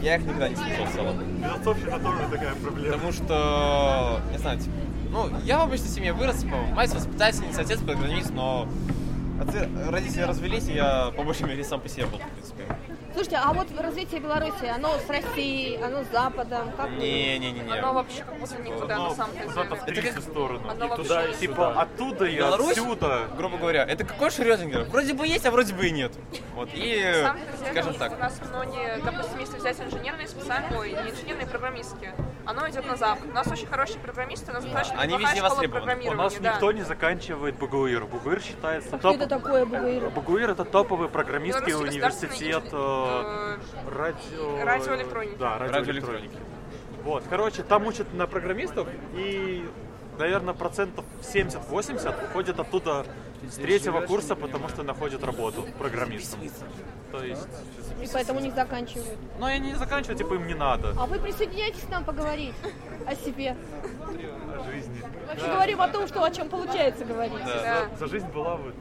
Speaker 10: Я их никогда не встречал в целом.
Speaker 13: Безотцовщина тоже такая проблема.
Speaker 10: Потому что, не знаю, типа, ну, я в обычной семье вырос, типа, мать воспитательница, отец программист, но отцы- родители развелись, и я по большей мере сам по себе был, в принципе.
Speaker 5: Слушайте, а вот развитие Беларуси, оно с Россией, оно с Западом, как?
Speaker 10: Не-не-не-не.
Speaker 11: Оно вообще как будто никуда, на самом деле.
Speaker 13: Это как... сторону.
Speaker 11: Оно И вообще туда, и не
Speaker 10: типа,
Speaker 13: оттуда и отсюда.
Speaker 10: грубо говоря, это какой Шрёдингер? Вроде бы есть, а вроде бы и нет.
Speaker 11: На
Speaker 10: Вот, и,
Speaker 11: самом деле,
Speaker 10: скажем
Speaker 11: у
Speaker 10: так,
Speaker 11: нас многие, допустим, если взять инженерные специальные, ой, не инженерные, программистские, оно идет на запад. У нас очень хорошие программисты, у нас достаточно
Speaker 13: Они
Speaker 11: неплохая
Speaker 13: везде
Speaker 11: школа
Speaker 13: востребованы. У
Speaker 11: программирования.
Speaker 13: нас
Speaker 11: да.
Speaker 13: никто не заканчивает БГУИР. БГУИР считается
Speaker 5: Что это такое БГУИР?
Speaker 13: БГУИР это топовый программистский
Speaker 11: Белорусский
Speaker 13: университет э, радио...
Speaker 11: радиоэлектроники.
Speaker 13: Да, радиоэлектроники. Вот, короче, там учат на программистов и, наверное, процентов 70-80 уходят оттуда с третьего курса, потому что находят работу программистом. То есть,
Speaker 5: И поэтому не заканчивают.
Speaker 13: ну они не заканчивают, типа им не надо.
Speaker 5: А вы присоединяйтесь к нам поговорить о себе.
Speaker 13: О жизни.
Speaker 5: Вообще говорим о том, что о чем получается говорить.
Speaker 10: Да.
Speaker 13: За жизнь была бы.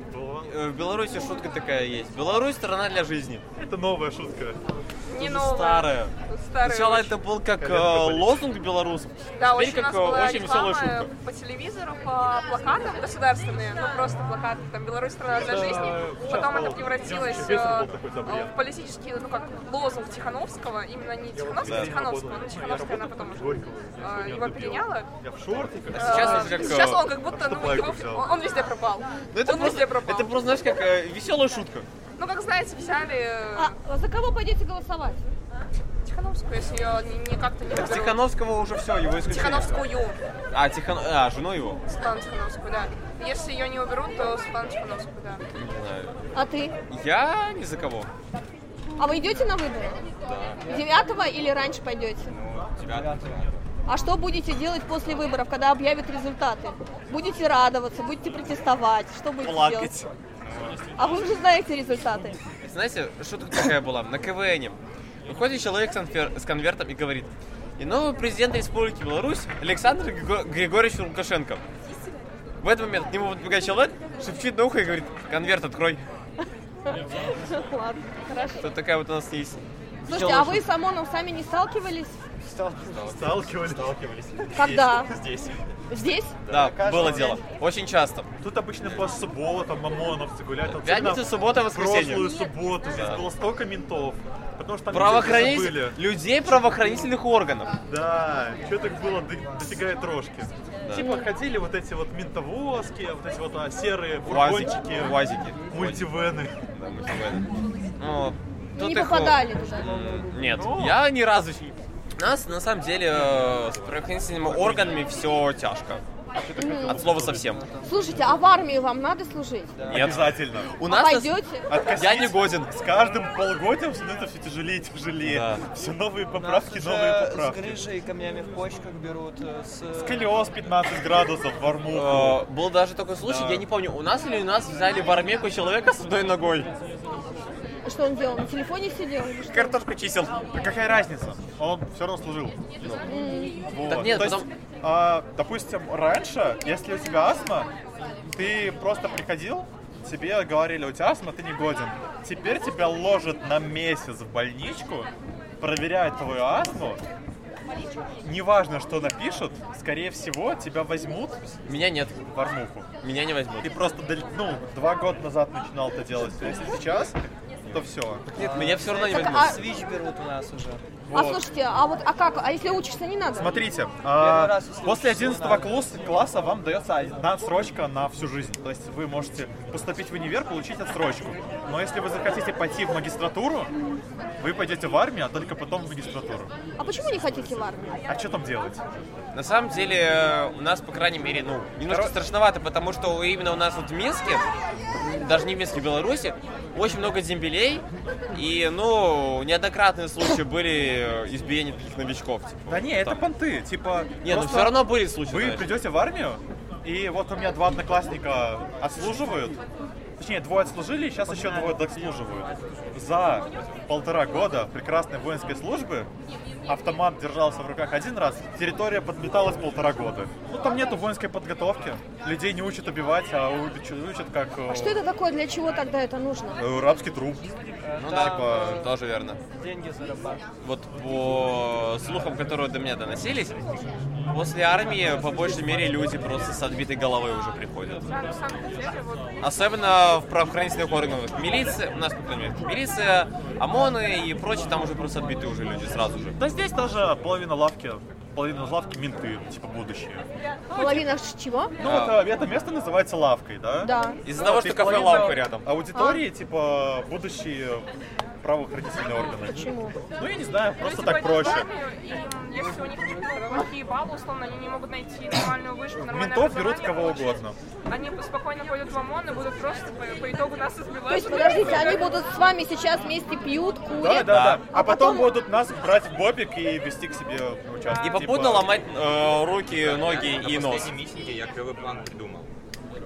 Speaker 10: Э, в Беларуси шутка такая есть. Беларусь страна для жизни.
Speaker 13: Это новая шутка.
Speaker 11: Не
Speaker 10: Это
Speaker 11: новое.
Speaker 10: Старое.
Speaker 11: Старое
Speaker 10: Сначала
Speaker 11: очень.
Speaker 10: это был как
Speaker 11: Колен
Speaker 10: э,
Speaker 11: болит.
Speaker 10: лозунг белорусов,
Speaker 11: Да,
Speaker 10: теперь
Speaker 11: очень у
Speaker 10: как
Speaker 11: нас
Speaker 10: э,
Speaker 11: была
Speaker 10: очень веселая
Speaker 11: реклама э,
Speaker 10: шутка.
Speaker 11: по телевизору, по плакатам государственные, ну просто плакаты, там «Беларусь страна для жизни», потом это превратилось э, э, в политический, ну как, лозунг Тихановского, именно не Тихановского,
Speaker 13: Да.
Speaker 11: Тихановского, ну Тихановская она потом уже э, его переняла.
Speaker 13: Я в
Speaker 10: А
Speaker 13: шортиках.
Speaker 11: Э, сейчас он как будто, ну, его- он он везде пропал.
Speaker 10: Ну, это, просто, это просто, знаешь, как э, веселая шутка.
Speaker 11: Ну, как знаете, взяли... э,
Speaker 5: А за кого пойдете голосовать?
Speaker 11: Тихановскую, если ее не, не как-то не
Speaker 10: Так
Speaker 11: выберут.
Speaker 10: Тихановского уже все, его исключили.
Speaker 11: Тихановскую.
Speaker 10: А, Тихон... а, жену его?
Speaker 11: Светлану Тихановскую, да. Если ее не уберут, то Светлану Тихановскую, да.
Speaker 10: Не знаю.
Speaker 5: А ты?
Speaker 10: Я ни за кого.
Speaker 5: А вы идете на выборы?
Speaker 10: Да.
Speaker 5: 9 или раньше пойдете?
Speaker 10: Тебя?
Speaker 5: А что будете делать после выборов, когда объявят результаты? Будете радоваться, будете протестовать, что будете
Speaker 10: Плакать.
Speaker 5: делать? А вы уже знаете результаты.
Speaker 10: Знаете, шутка такая была на КВНе. Выходит человек с, конфер- с конвертом и говорит, и новый президент Республики Беларусь Александр Григо- Григорьевич Лукашенко. В этот момент к нему подбегает человек, шепчет на ухо и говорит, конверт открой.
Speaker 5: Ладно, хорошо.
Speaker 10: Вот такая вот у нас есть.
Speaker 5: Слушайте, а вы с ОМОНом сами не сталкивались?
Speaker 10: Сталкивались. Сталкивались.
Speaker 5: Когда?
Speaker 13: Здесь.
Speaker 5: Здесь?
Speaker 10: Да, было дело. Очень часто.
Speaker 13: Тут обычно по субботам ОМОНовцы гуляют. Вот
Speaker 10: Пятница,
Speaker 13: всегда
Speaker 10: суббота, воскресенье.
Speaker 13: Прошлую субботу здесь
Speaker 10: Да.
Speaker 13: было столько ментов. Потому что там
Speaker 10: Правоохранитель-
Speaker 13: люди забыли.
Speaker 10: людей правоохранительных органов.
Speaker 13: Да, что так было до- достигает рожки.
Speaker 10: Да.
Speaker 13: Типа ходили вот эти вот ментовозки, вот эти вот а, серые
Speaker 10: Уазики,
Speaker 13: фургончики.
Speaker 10: уазики.
Speaker 13: Мультивены.
Speaker 10: Да, мультивены.
Speaker 5: Ну,
Speaker 10: Ну, тут
Speaker 5: не
Speaker 10: их,
Speaker 5: попадали туда.
Speaker 10: м, Нет, я ни разу... щ- У Нас, на самом деле, э, с правоохранительными органами все тяжко.
Speaker 5: Мгм.
Speaker 10: От слова совсем.
Speaker 5: Ну, Слушайте, а в армии вам надо служить?
Speaker 10: Нет. Обязательно. У
Speaker 5: А
Speaker 10: нас...
Speaker 5: пойдете?
Speaker 10: Я не годен.
Speaker 13: С каждым полгодием становится все тяжелее и тяжелее. Все новые поправки,
Speaker 14: Нас
Speaker 13: новые
Speaker 14: уже С
Speaker 13: поправки.
Speaker 14: грыжей и камнями в почках берут. э, С,
Speaker 13: С колес 15 градусов в армуху.
Speaker 10: Э, Был даже такой случай, я не помню, у нас или у нас взяли в армейку человека с одной ногой.
Speaker 5: Что он делал? На телефоне сидел? или что?
Speaker 10: Картошку чистил.
Speaker 13: А Какая разница? А Он все равно служил.
Speaker 5: М.
Speaker 13: Вот.
Speaker 10: Так нет,
Speaker 13: То есть, а, допустим, раньше, если у тебя астма, ты просто приходил, тебе говорили, у тебя астма, ты не годен. Теперь тебя ложат на месяц в больничку, проверяют твою астму. Неважно, что напишут, скорее всего, тебя возьмут.
Speaker 10: Меня нет.
Speaker 13: В армуху.
Speaker 10: Меня не возьмут.
Speaker 13: Ты просто, дол- ну, два года назад начинал это делать. А Если сейчас, то все.
Speaker 10: Нет, меня все равно не
Speaker 5: Так,
Speaker 10: возьмут.
Speaker 5: а-
Speaker 14: Свич берут у нас уже.
Speaker 5: А слушайте, а вот а как? А если учишься не надо?
Speaker 13: Смотрите, а,
Speaker 14: раз, если
Speaker 13: после
Speaker 14: учишься,
Speaker 13: 11 класса, класса вам дается одна отсрочка на всю жизнь. То есть вы можете поступить в универ, получить отсрочку. Но если вы захотите пойти в магистратуру, вы пойдете в армию, а только потом в магистратуру.
Speaker 5: А почему не хотите в армию?
Speaker 13: А что там делать?
Speaker 10: На самом деле, э, у нас, по крайней мере, ну, немножко страшновато, потому что именно у нас вот в Минске, даже не в Минске, в Беларуси, очень много дембелей, и, ну, неоднократные случаи были э, избиения таких новичков. Типа.
Speaker 13: Да не, это понты, типа...
Speaker 10: Не, ну
Speaker 13: просто
Speaker 10: все равно были случаи.
Speaker 13: Вы
Speaker 10: знаешь.
Speaker 13: придете в армию, и вот у меня два одноклассника отслуживают, точнее, двое отслужили, сейчас еще двое дослуживают. За полтора года прекрасной воинской службы автомат держался в руках один раз, территория подметалась полтора года. Ну, там нету воинской подготовки, людей не учат убивать, а уч- учат как... э,
Speaker 5: А что это такое? Для чего тогда это нужно?
Speaker 13: Рабский труп.
Speaker 10: Ну
Speaker 13: да,
Speaker 10: да, э, тоже верно.
Speaker 14: Деньги зарабатывают.
Speaker 10: Вот по слухам, которые до меня доносились, после армии по большей мере люди просто с отбитой головой уже приходят.
Speaker 11: Да, на А, ну, самом деле, вот
Speaker 10: Особенно в правоохранительных органах. Милиция, у нас, например, милиция, ОМОНы и прочее, там уже просто отбиты уже люди сразу же.
Speaker 13: Да здесь тоже половина лавки, половина лавки менты, типа будущее.
Speaker 5: Половина ш- чего?
Speaker 13: Ну вот э, это место называется лавкой, да?
Speaker 5: Да. А?
Speaker 10: Из-за того,
Speaker 13: ты
Speaker 10: что кафе
Speaker 13: половина
Speaker 10: «Лавка» рядом.
Speaker 13: Аудитории, типа, будущие правоохранительные органы.
Speaker 5: Почему? типа,
Speaker 13: Ну, я не знаю, просто
Speaker 11: Люди
Speaker 13: так
Speaker 11: пойдут в
Speaker 13: проще.
Speaker 11: армию, и если у них не будут плохие баллы, условно, они не могут найти нормальную вышку, нормальное
Speaker 13: Ментов берут
Speaker 11: образование
Speaker 13: кого
Speaker 11: получить.
Speaker 13: угодно.
Speaker 11: Они спокойно пойдут в ОМОН и будут просто по, по итогу нас избивать.
Speaker 5: То есть, подождите, они будут с вами сейчас вместе пьют,
Speaker 13: Да, да,
Speaker 5: курят?
Speaker 13: да. А потом будут нас брать в бобик и вести к себе в участок. типа.
Speaker 10: И попутно типа, ломать э, руки, ноги и
Speaker 15: типа, На
Speaker 10: нос.
Speaker 15: последнем митинге я клевый план придумал.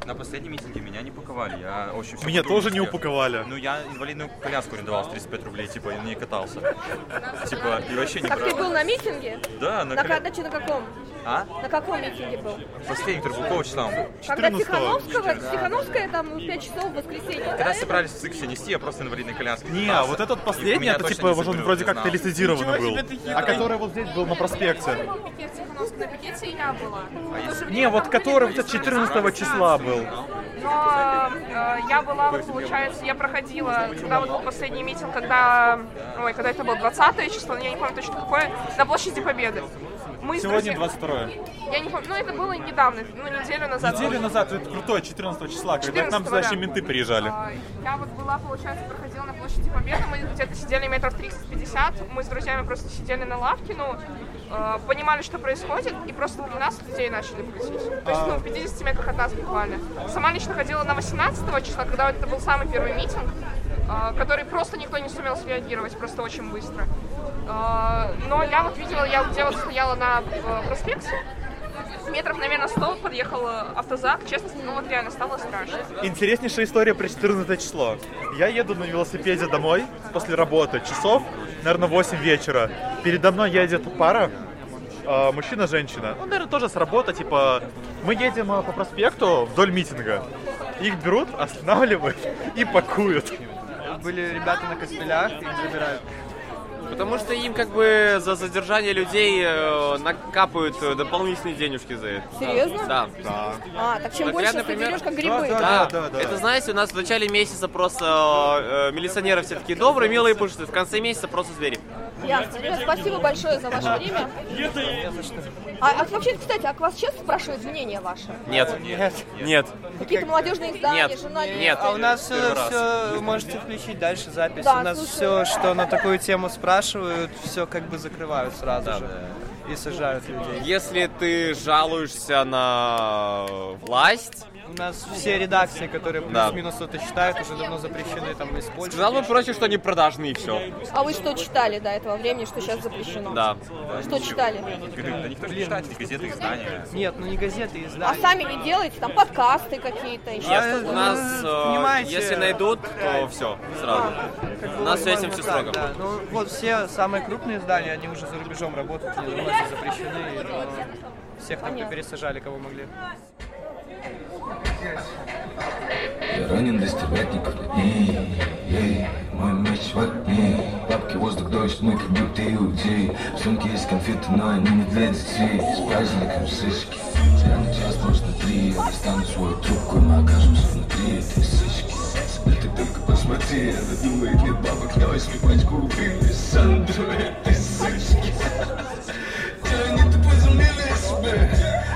Speaker 15: На последнем митинге меня не упаковали, я очень всё
Speaker 13: Меня
Speaker 15: подумал,
Speaker 13: тоже не
Speaker 15: что я-
Speaker 13: упаковали.
Speaker 15: Ну, я инвалидную коляску арендовал с 35 рублей, типа, и не катался. Типа, и вообще не
Speaker 5: Так ты
Speaker 15: брал.
Speaker 5: был на митинге?
Speaker 15: Да, на
Speaker 5: на, ка-
Speaker 15: коля-
Speaker 5: на, че- на каком?
Speaker 14: А?
Speaker 16: На каком митинге был?
Speaker 14: Последний, который был, какого числа он был?
Speaker 16: Когда Тихановского, Тихановская там в 5 часов в воскресенье, да?
Speaker 14: Когда собрались в ЦИКСе нести, я просто инвалидной коляской
Speaker 13: Не, а
Speaker 14: катался.
Speaker 13: вот этот
Speaker 14: И
Speaker 13: последний,
Speaker 14: меня
Speaker 13: это
Speaker 14: точно
Speaker 13: типа,
Speaker 14: не
Speaker 13: вот он
Speaker 14: закрыли,
Speaker 13: вроде
Speaker 14: я
Speaker 13: как-то
Speaker 14: знал.
Speaker 13: лицензированный
Speaker 14: Ничего
Speaker 13: был.
Speaker 14: себе, ты
Speaker 13: А
Speaker 14: хитрый.
Speaker 13: который вот здесь был на проспекте.
Speaker 11: На пикете Тихановской, на пикете и я была.
Speaker 13: А
Speaker 11: Потому что
Speaker 13: Не, вот который вот 14 числа был.
Speaker 11: Но э, я была, вот, получается, я проходила, когда вот был последний митинг, когда, ой, когда это было 20 число, я не помню точно какое, на площади Победы. Мы с
Speaker 13: Сегодня
Speaker 11: друзьями-
Speaker 13: 22
Speaker 11: Я не помню, ну это было недавно, ну неделю назад.
Speaker 13: Неделю назад, это крутое, 14 числа, когда к нам
Speaker 11: 14-го,
Speaker 13: сюда еще
Speaker 11: да.
Speaker 13: менты приезжали.
Speaker 11: А, Я вот была, получается, проходила на площади Победы, мы где-то сидели метров 30-50, мы с друзьями просто сидели на лавке, ну, э, понимали, что происходит, и просто при нас людей начали крутить. То
Speaker 13: А.
Speaker 11: есть, ну, в 50 метрах от нас буквально. Сама лично ходила на 18 числа, когда это был самый первый митинг, э, который просто никто не сумел среагировать, просто очень быстро. Э, Но я вот видела, я где вот стояла на э, проспекте, метров, наверное, 100 подъехал э, автозак, честно, ну вот реально стало страшно.
Speaker 13: Интереснейшая история про 14 число. Я еду на велосипеде домой после работы, часов, наверное, 8 вечера. Передо мной едет пара, а, мужчина-женщина. Он, наверное, тоже с работы, типа, мы едем а, по проспекту вдоль митинга. Их берут, останавливают и пакуют.
Speaker 12: Были ребята на костылях, их забирают.
Speaker 10: Потому что им как бы за задержание людей э, накапывают э, дополнительные денежки за это.
Speaker 16: Серьезно?
Speaker 10: Да.
Speaker 16: А, так чем
Speaker 10: Так
Speaker 16: больше
Speaker 10: я, например-
Speaker 16: соберешь, как грибы.
Speaker 10: Да, Это, знаете, у нас в начале месяца просто э, э, милиционеры все такие добрые, милые, пушистые. В конце месяца просто звери.
Speaker 16: Ясно. Ребят, спасибо большое за ваше время. А, а вообще, кстати, а к вас часто спрашивают мнение ваше?
Speaker 10: Нет. Нет. Нет.
Speaker 16: Какие-то молодежные издания,
Speaker 12: Нет.
Speaker 16: журналисты?
Speaker 12: А у нас все,
Speaker 10: Первый раз.
Speaker 12: можете включить дальше запись.
Speaker 16: Да,
Speaker 12: у нас
Speaker 16: слушаю.
Speaker 12: все, что на такую тему спрашивают, все как бы закрывают сразу же. И сажают людей.
Speaker 10: Если ты жалуешься на э, власть,
Speaker 12: У нас все редакции, которые
Speaker 10: Да.
Speaker 12: плюс-минус что-то считают, уже давно запрещены там из Польши.
Speaker 10: сказал бы проще, что они продажные, и все.
Speaker 16: А вы что читали до этого времени, что сейчас запрещено?
Speaker 10: Да.
Speaker 16: Что читали?
Speaker 14: Да никто же не читает эти газеты, издания.
Speaker 12: Нет, ну не газеты, и
Speaker 16: А
Speaker 12: издания.
Speaker 16: сами не делаете? Там подкасты какие-то еще?
Speaker 10: Нет,
Speaker 12: А,
Speaker 10: у нас, э,
Speaker 12: понимаете.
Speaker 10: если найдут, то все, сразу.
Speaker 12: Как
Speaker 10: У
Speaker 12: бы
Speaker 10: нас с этим
Speaker 12: возможно
Speaker 10: все
Speaker 12: так,
Speaker 10: строго.
Speaker 12: да. Ну вот все самые крупные издания, они уже за рубежом работают, они полностью запрещены. и, э, Всех там пересажали, кого могли.
Speaker 1: Я ранен до стебятников дней Эй, мой меч в огне Бабки, воздух, дождь, мы как будто иудеи В сумке есть конфеты, но они не для детей С праздником сышки Рано час, может, на три Я достану свою трубку, и мы окажемся внутри этой сышки Да ты только посмотри, она думает, нет бабок Я возьму пачку рубин и санду этой сышки Да они ты возумели себе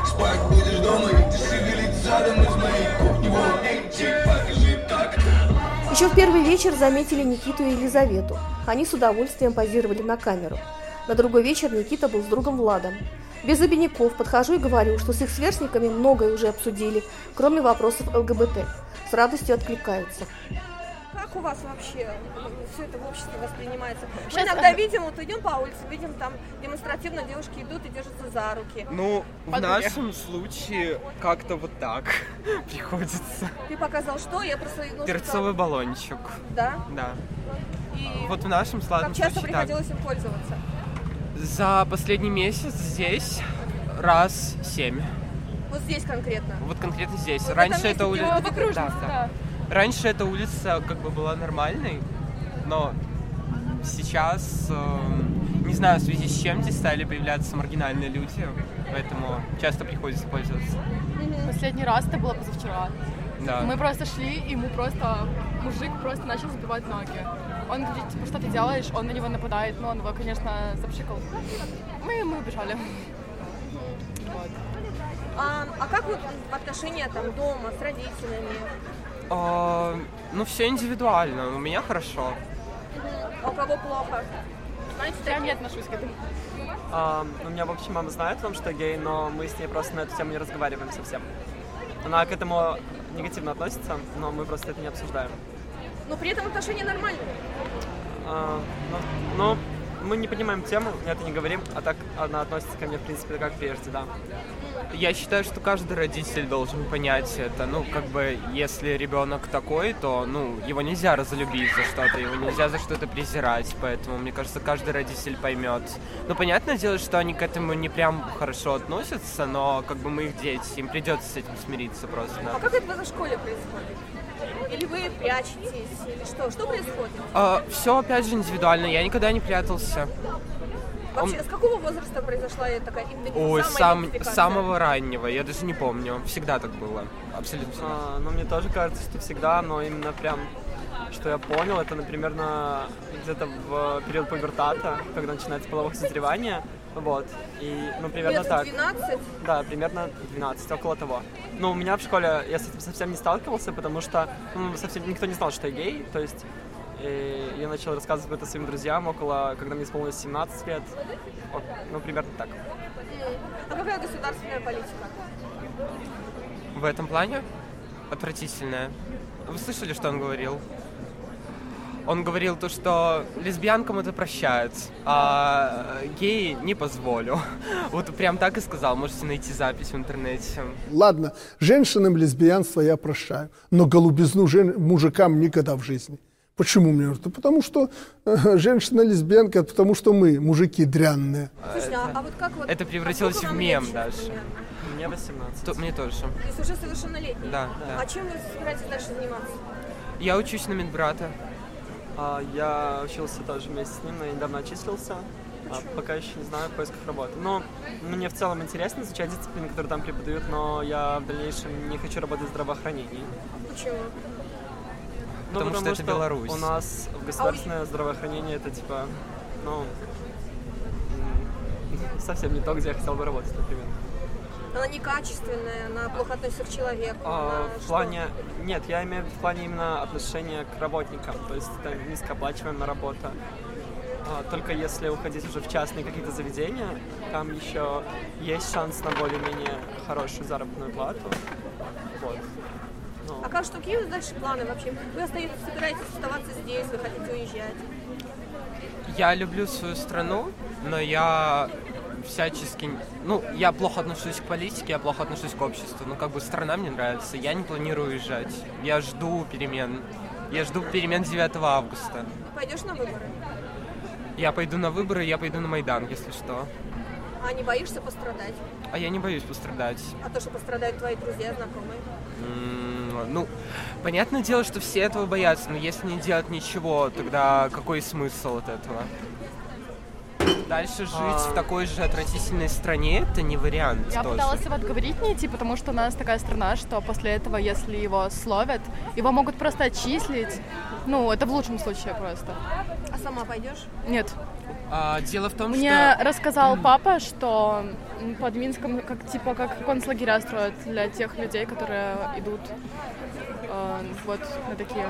Speaker 1: Спать будешь дома, и ты шевелить задом из моей кухни Вон, эй, чик, покажи, как
Speaker 2: Еще в первый вечер заметили Никиту и Елизавету. Они с удовольствием позировали на камеру. На другой вечер Никита был с другом Владом. Без обиняков подхожу и говорю, что с их сверстниками многое уже обсудили, кроме вопросов ЛГБТ. С радостью откликаются.
Speaker 5: Как у вас вообще все это в обществе воспринимается? Мы
Speaker 16: Щас-
Speaker 5: иногда видим, вот идем по улице, видим там демонстративно девушки идут и держатся за руки.
Speaker 12: Ну, в
Speaker 5: Подруги.
Speaker 12: нашем случае как-то вот так приходится.
Speaker 5: Ты показал что? Я просто... ну,
Speaker 12: Перцовый баллончик.
Speaker 5: Да?
Speaker 12: Да.
Speaker 5: И
Speaker 12: Вот в нашем сладком
Speaker 5: как часто
Speaker 12: случае так.
Speaker 5: приходилось им пользоваться?
Speaker 12: За последний месяц здесь раз семь.
Speaker 5: Вот здесь конкретно.
Speaker 12: Вот конкретно здесь.
Speaker 5: Вот в
Speaker 12: Раньше
Speaker 5: этом
Speaker 12: эта
Speaker 5: месте, где
Speaker 12: улица...
Speaker 5: вот окружность,
Speaker 12: Раньше эта улица как бы была нормальной, но сейчас, эм, не знаю, в связи с чем здесь стали появляться маргинальные люди, поэтому часто приходится пользоваться.
Speaker 17: Последний раз это было позавчера.
Speaker 12: Да.
Speaker 17: Мы просто шли, и ему просто мужик просто начал сбивать ноги. Он говорит, типа, что ты делаешь? Он на него нападает, но он его, конечно, запшикал. Мы, мы убежали.
Speaker 5: А, а как вот отношения там дома с родителями?
Speaker 12: А, ну, все индивидуально, у меня хорошо.
Speaker 5: А у кого плохо? Знаете, я не
Speaker 17: отношусь к этому.
Speaker 18: А, у меня вообще мама знает о том, что я гей, но мы с ней просто на эту тему не разговариваем совсем. Она к этому негативно относится, но мы просто это не обсуждаем.
Speaker 5: Но при этом отношения нормальные.
Speaker 18: А, ну, ну, мы не понимаем тему, мы это не говорим, а так она относится ко мне, в принципе, как прежде, да.
Speaker 12: Я считаю, что каждый родитель должен понять это. Ну, как бы, если ребенок такой, то, ну, его нельзя разлюбить за что-то, его нельзя за что-то презирать. Поэтому, мне кажется, каждый родитель поймет. Ну, понятное дело, что они к этому не прям хорошо относятся, но, как бы, мы их дети, им придется с этим смириться просто.
Speaker 5: А как это в этой школе происходит? Или вы прячетесь, или что? Что происходит?
Speaker 12: все, А, опять же, индивидуально. Я никогда не прятался.
Speaker 5: Вообще, с какого возраста произошла эта такая идентификация?
Speaker 12: Ой, сам,
Speaker 5: самоидентификация?
Speaker 12: самого раннего, я даже не помню. Всегда так было. Абсолютно. всегда.
Speaker 18: А, ну, мне тоже кажется, что всегда, но именно прям, что я понял, это, например, на- где-то в период пубертата, когда начинается половое созревание, вот, и, ну, примерно
Speaker 5: Лет в
Speaker 18: так.
Speaker 5: 12?
Speaker 18: Да, примерно 12, около того. Но у меня в школе я с этим совсем не сталкивался, потому что ну, совсем никто не знал, что я гей, то есть э, я начал рассказывать это своим друзьям около, когда мне исполнилось 17 лет, О, ну, примерно так.
Speaker 5: А какая государственная политика?
Speaker 12: В этом плане отвратительное. Вы слышали, что он говорил? Он говорил то, что лесбиянкам это прощают, а геи не позволю. Вот прям так и сказал, можете найти запись в интернете.
Speaker 19: Ладно, женщинам лесбиянство я прощаю, но голубизну жен- мужикам никогда в жизни. Почему мне? Да потому что э, женщина лесбиянка, это потому что мы, мужики, дрянные.
Speaker 5: Слушай, а, а вот как вот...
Speaker 12: Это превратилось
Speaker 5: а сколько
Speaker 12: в
Speaker 5: вам
Speaker 12: мем
Speaker 5: лет,
Speaker 12: даже.
Speaker 5: примерно?
Speaker 18: Мне 18.
Speaker 12: мне тоже.
Speaker 5: То есть уже совершеннолетний?
Speaker 12: Да, да.
Speaker 5: А чем вы собираетесь дальше заниматься?
Speaker 12: Я учусь на медбрата.
Speaker 18: А, я учился тоже вместе с ним, но я недавно отчислился. А, пока еще не знаю в поисках работы. Но мне в целом интересно изучать дисциплины, которые там преподают, но я в дальнейшем не хочу работать в здравоохранении.
Speaker 5: Почему?
Speaker 18: Ну,
Speaker 12: Потому что это Беларусь.
Speaker 18: У нас в государственное здравоохранение это типа, ну, м, совсем не то, где я хотел бы работать, например.
Speaker 5: Она некачественная, она плохо относится к человеку.
Speaker 18: А,
Speaker 5: она
Speaker 18: в
Speaker 5: что?
Speaker 18: плане... Нет, я имею в виду в плане именно отношения к работникам, то есть это низкооплачиваемая работа. А, только если уходить уже в частные какие-то заведения, там еще есть шанс на более-менее хорошую заработную плату. Вот. Ну,
Speaker 5: А как что, какие у вас дальше планы вообще? Вы остаетесь, собираетесь оставаться здесь, вы хотите уезжать?
Speaker 12: Я люблю свою страну, но я всячески... Ну, я плохо отношусь к политике, я плохо отношусь к обществу. Ну, как бы страна мне нравится, я не планирую уезжать. Я жду перемен. Я жду перемен 9 августа.
Speaker 5: Пойдешь на выборы?
Speaker 12: Я пойду на выборы, я пойду на Майдан, если что.
Speaker 5: А не боишься пострадать?
Speaker 12: А я не боюсь пострадать.
Speaker 5: А то, что пострадают твои друзья, знакомые?
Speaker 12: М, Ну, понятное дело, что все этого боятся, но если не делать ничего, тогда какой смысл от этого? Дальше жить в такой же отвратительной стране это не вариант
Speaker 17: А. Я
Speaker 12: тоже.
Speaker 17: пыталась его отговорить не идти, потому что у нас такая страна, что после этого, если его словят, его могут просто отчислить. Ну, это в лучшем случае просто.
Speaker 5: А сама пойдешь?
Speaker 17: Нет.
Speaker 12: А, дело в том,
Speaker 17: Мне
Speaker 12: что
Speaker 17: рассказал папа, что м, под Минском как типа как концлагеря строят для тех людей, которые идут э, вот на такие.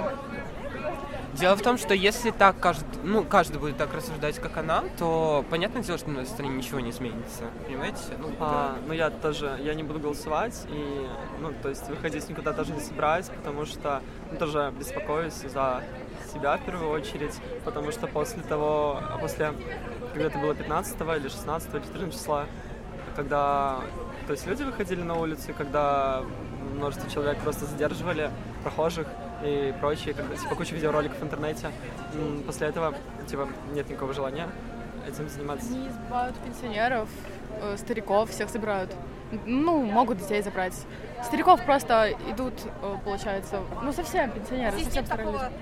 Speaker 12: дело в том, что если так каждый, ну, каждый будет так рассуждать, как она, то понятное дело, что на стране ничего не изменится. Понимаете? Ну,
Speaker 18: а, ну, я тоже, я не буду голосовать, и, ну, то есть выходить никуда тоже не собираюсь, потому что ну, тоже беспокоюсь за себя в первую очередь, потому что после того, а после, когда это было 15 или 16 или 14 числа, когда, то есть люди выходили на улицу, и когда множество человек просто задерживали прохожих и прочее, когда, типа, куча видеороликов в интернете, м, после этого, типа, нет никакого желания этим заниматься.
Speaker 17: Они избивают пенсионеров, э, стариков, всех забирают. Ну, могут детей забрать. Стариков просто идут, э, получается, ну совсем пенсионеры, совсем
Speaker 5: Система
Speaker 17: старые
Speaker 5: такого,
Speaker 17: люди.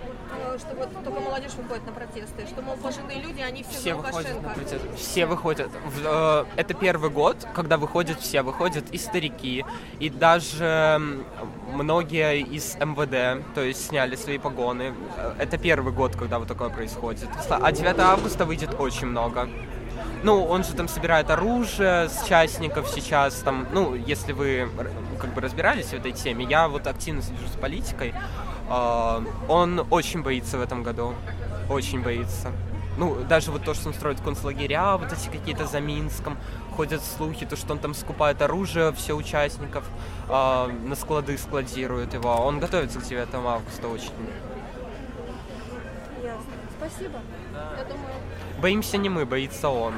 Speaker 5: э, что вот только молодежь выходит на протесты, что, мол, пожилые люди, они все,
Speaker 12: Все
Speaker 5: за
Speaker 12: выходят
Speaker 5: Лукашенко.
Speaker 12: на протест. Все выходят. В- э, Это первый год, когда выходят все. Выходят и старики, и даже м, многие из МВД, то есть сняли свои погоны. Э, Это первый год, когда вот такое происходит. А 9 августа выйдет очень много. Ну, он же там собирает оружие с частников сейчас, там, ну, если вы р- как бы разбирались в этой теме, я вот активно слежу за политикой, Э, он очень боится в этом году, очень боится. Ну, даже вот то, что он строит концлагеря, вот эти какие-то за Минском, ходят слухи, то, что он там скупает оружие, все участников, э, на склады складирует его. Он готовится к 9 августа очень.
Speaker 5: Ясно. Спасибо.
Speaker 20: Спасибо. Я думаю,
Speaker 12: Боимся не мы, боится он.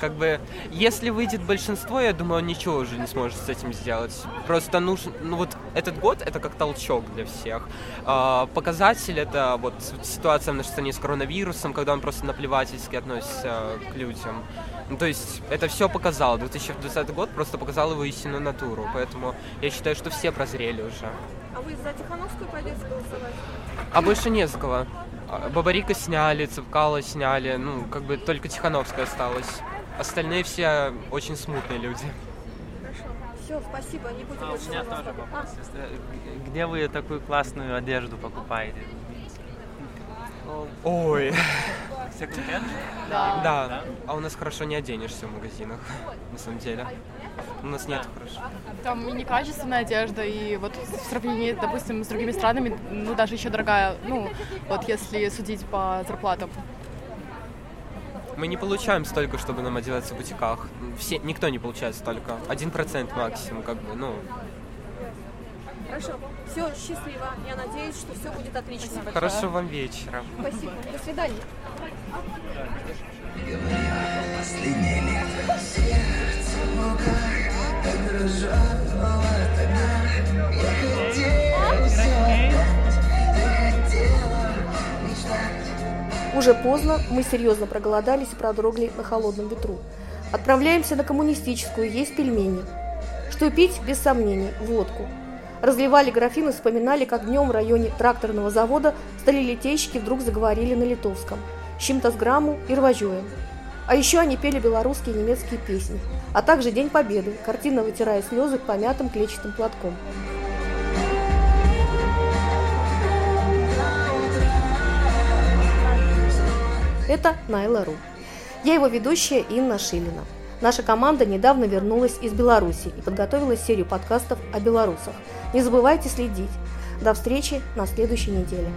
Speaker 12: Как бы, если выйдет большинство, я думаю, он ничего уже не сможет с этим сделать. Просто нужен, ну вот этот год это как толчок для всех. А, показатель это вот ситуация в нашей стране с коронавирусом, когда он просто наплевательски относится к людям. Ну, то есть это все показало. 2020 год просто показал его истинную натуру. Поэтому я считаю, что все прозрели уже.
Speaker 20: а вы за Тихановскую пойдете голосовать?
Speaker 12: А больше не за кого. А, Бабарика сняли, Цепкала сняли, ну, как бы только Тихановская осталась. Остальные все очень смутные люди.
Speaker 20: Хорошо. Все, спасибо, не будем
Speaker 21: А у
Speaker 20: больше
Speaker 21: меня
Speaker 20: вопросов.
Speaker 21: тоже вопрос.
Speaker 20: А,
Speaker 21: Э, Где вы такую классную одежду покупаете?
Speaker 12: Ой.
Speaker 21: Секонд-хенд?
Speaker 12: Да. А у нас хорошо не оденешься в магазинах, на самом деле. У нас нет хорошо.
Speaker 17: Там и некачественная одежда, и вот в сравнении, допустим, с другими странами, ну, даже еще дорогая, ну, вот если судить по зарплатам.
Speaker 12: Мы не получаем столько, чтобы нам одеваться в бутиках. Все, никто не получает столько. Один процент максимум, как бы, ну.
Speaker 20: Хорошо. Все, счастливо. Я надеюсь, что все будет отлично.
Speaker 12: Хорошего вам вечера.
Speaker 20: Спасибо. До свидания.
Speaker 1: Последнее лето Сердце в руках Так дрожало тогда Я хотел все отдать, Ты хотела мечтать
Speaker 5: Уже поздно, мы серьезно проголодались и продрогли на холодном ветру. Отправляемся на коммунистическую, есть пельмени. Что пить, без сомнений, водку. Разливали графины, вспоминали, как днем в районе тракторного завода сталелитейщики вдруг заговорили на литовском. С чем-то с грамму и рвожоем. А еще они пели белорусские и немецкие песни, а также День Победы, картинно вытирая слезы помятым клетчатым платком. Это Найла.ру. Я его ведущая Инна Шилина. Наша команда недавно вернулась из Беларуси и подготовила серию подкастов о белорусах. Не забывайте следить. До встречи на следующей неделе.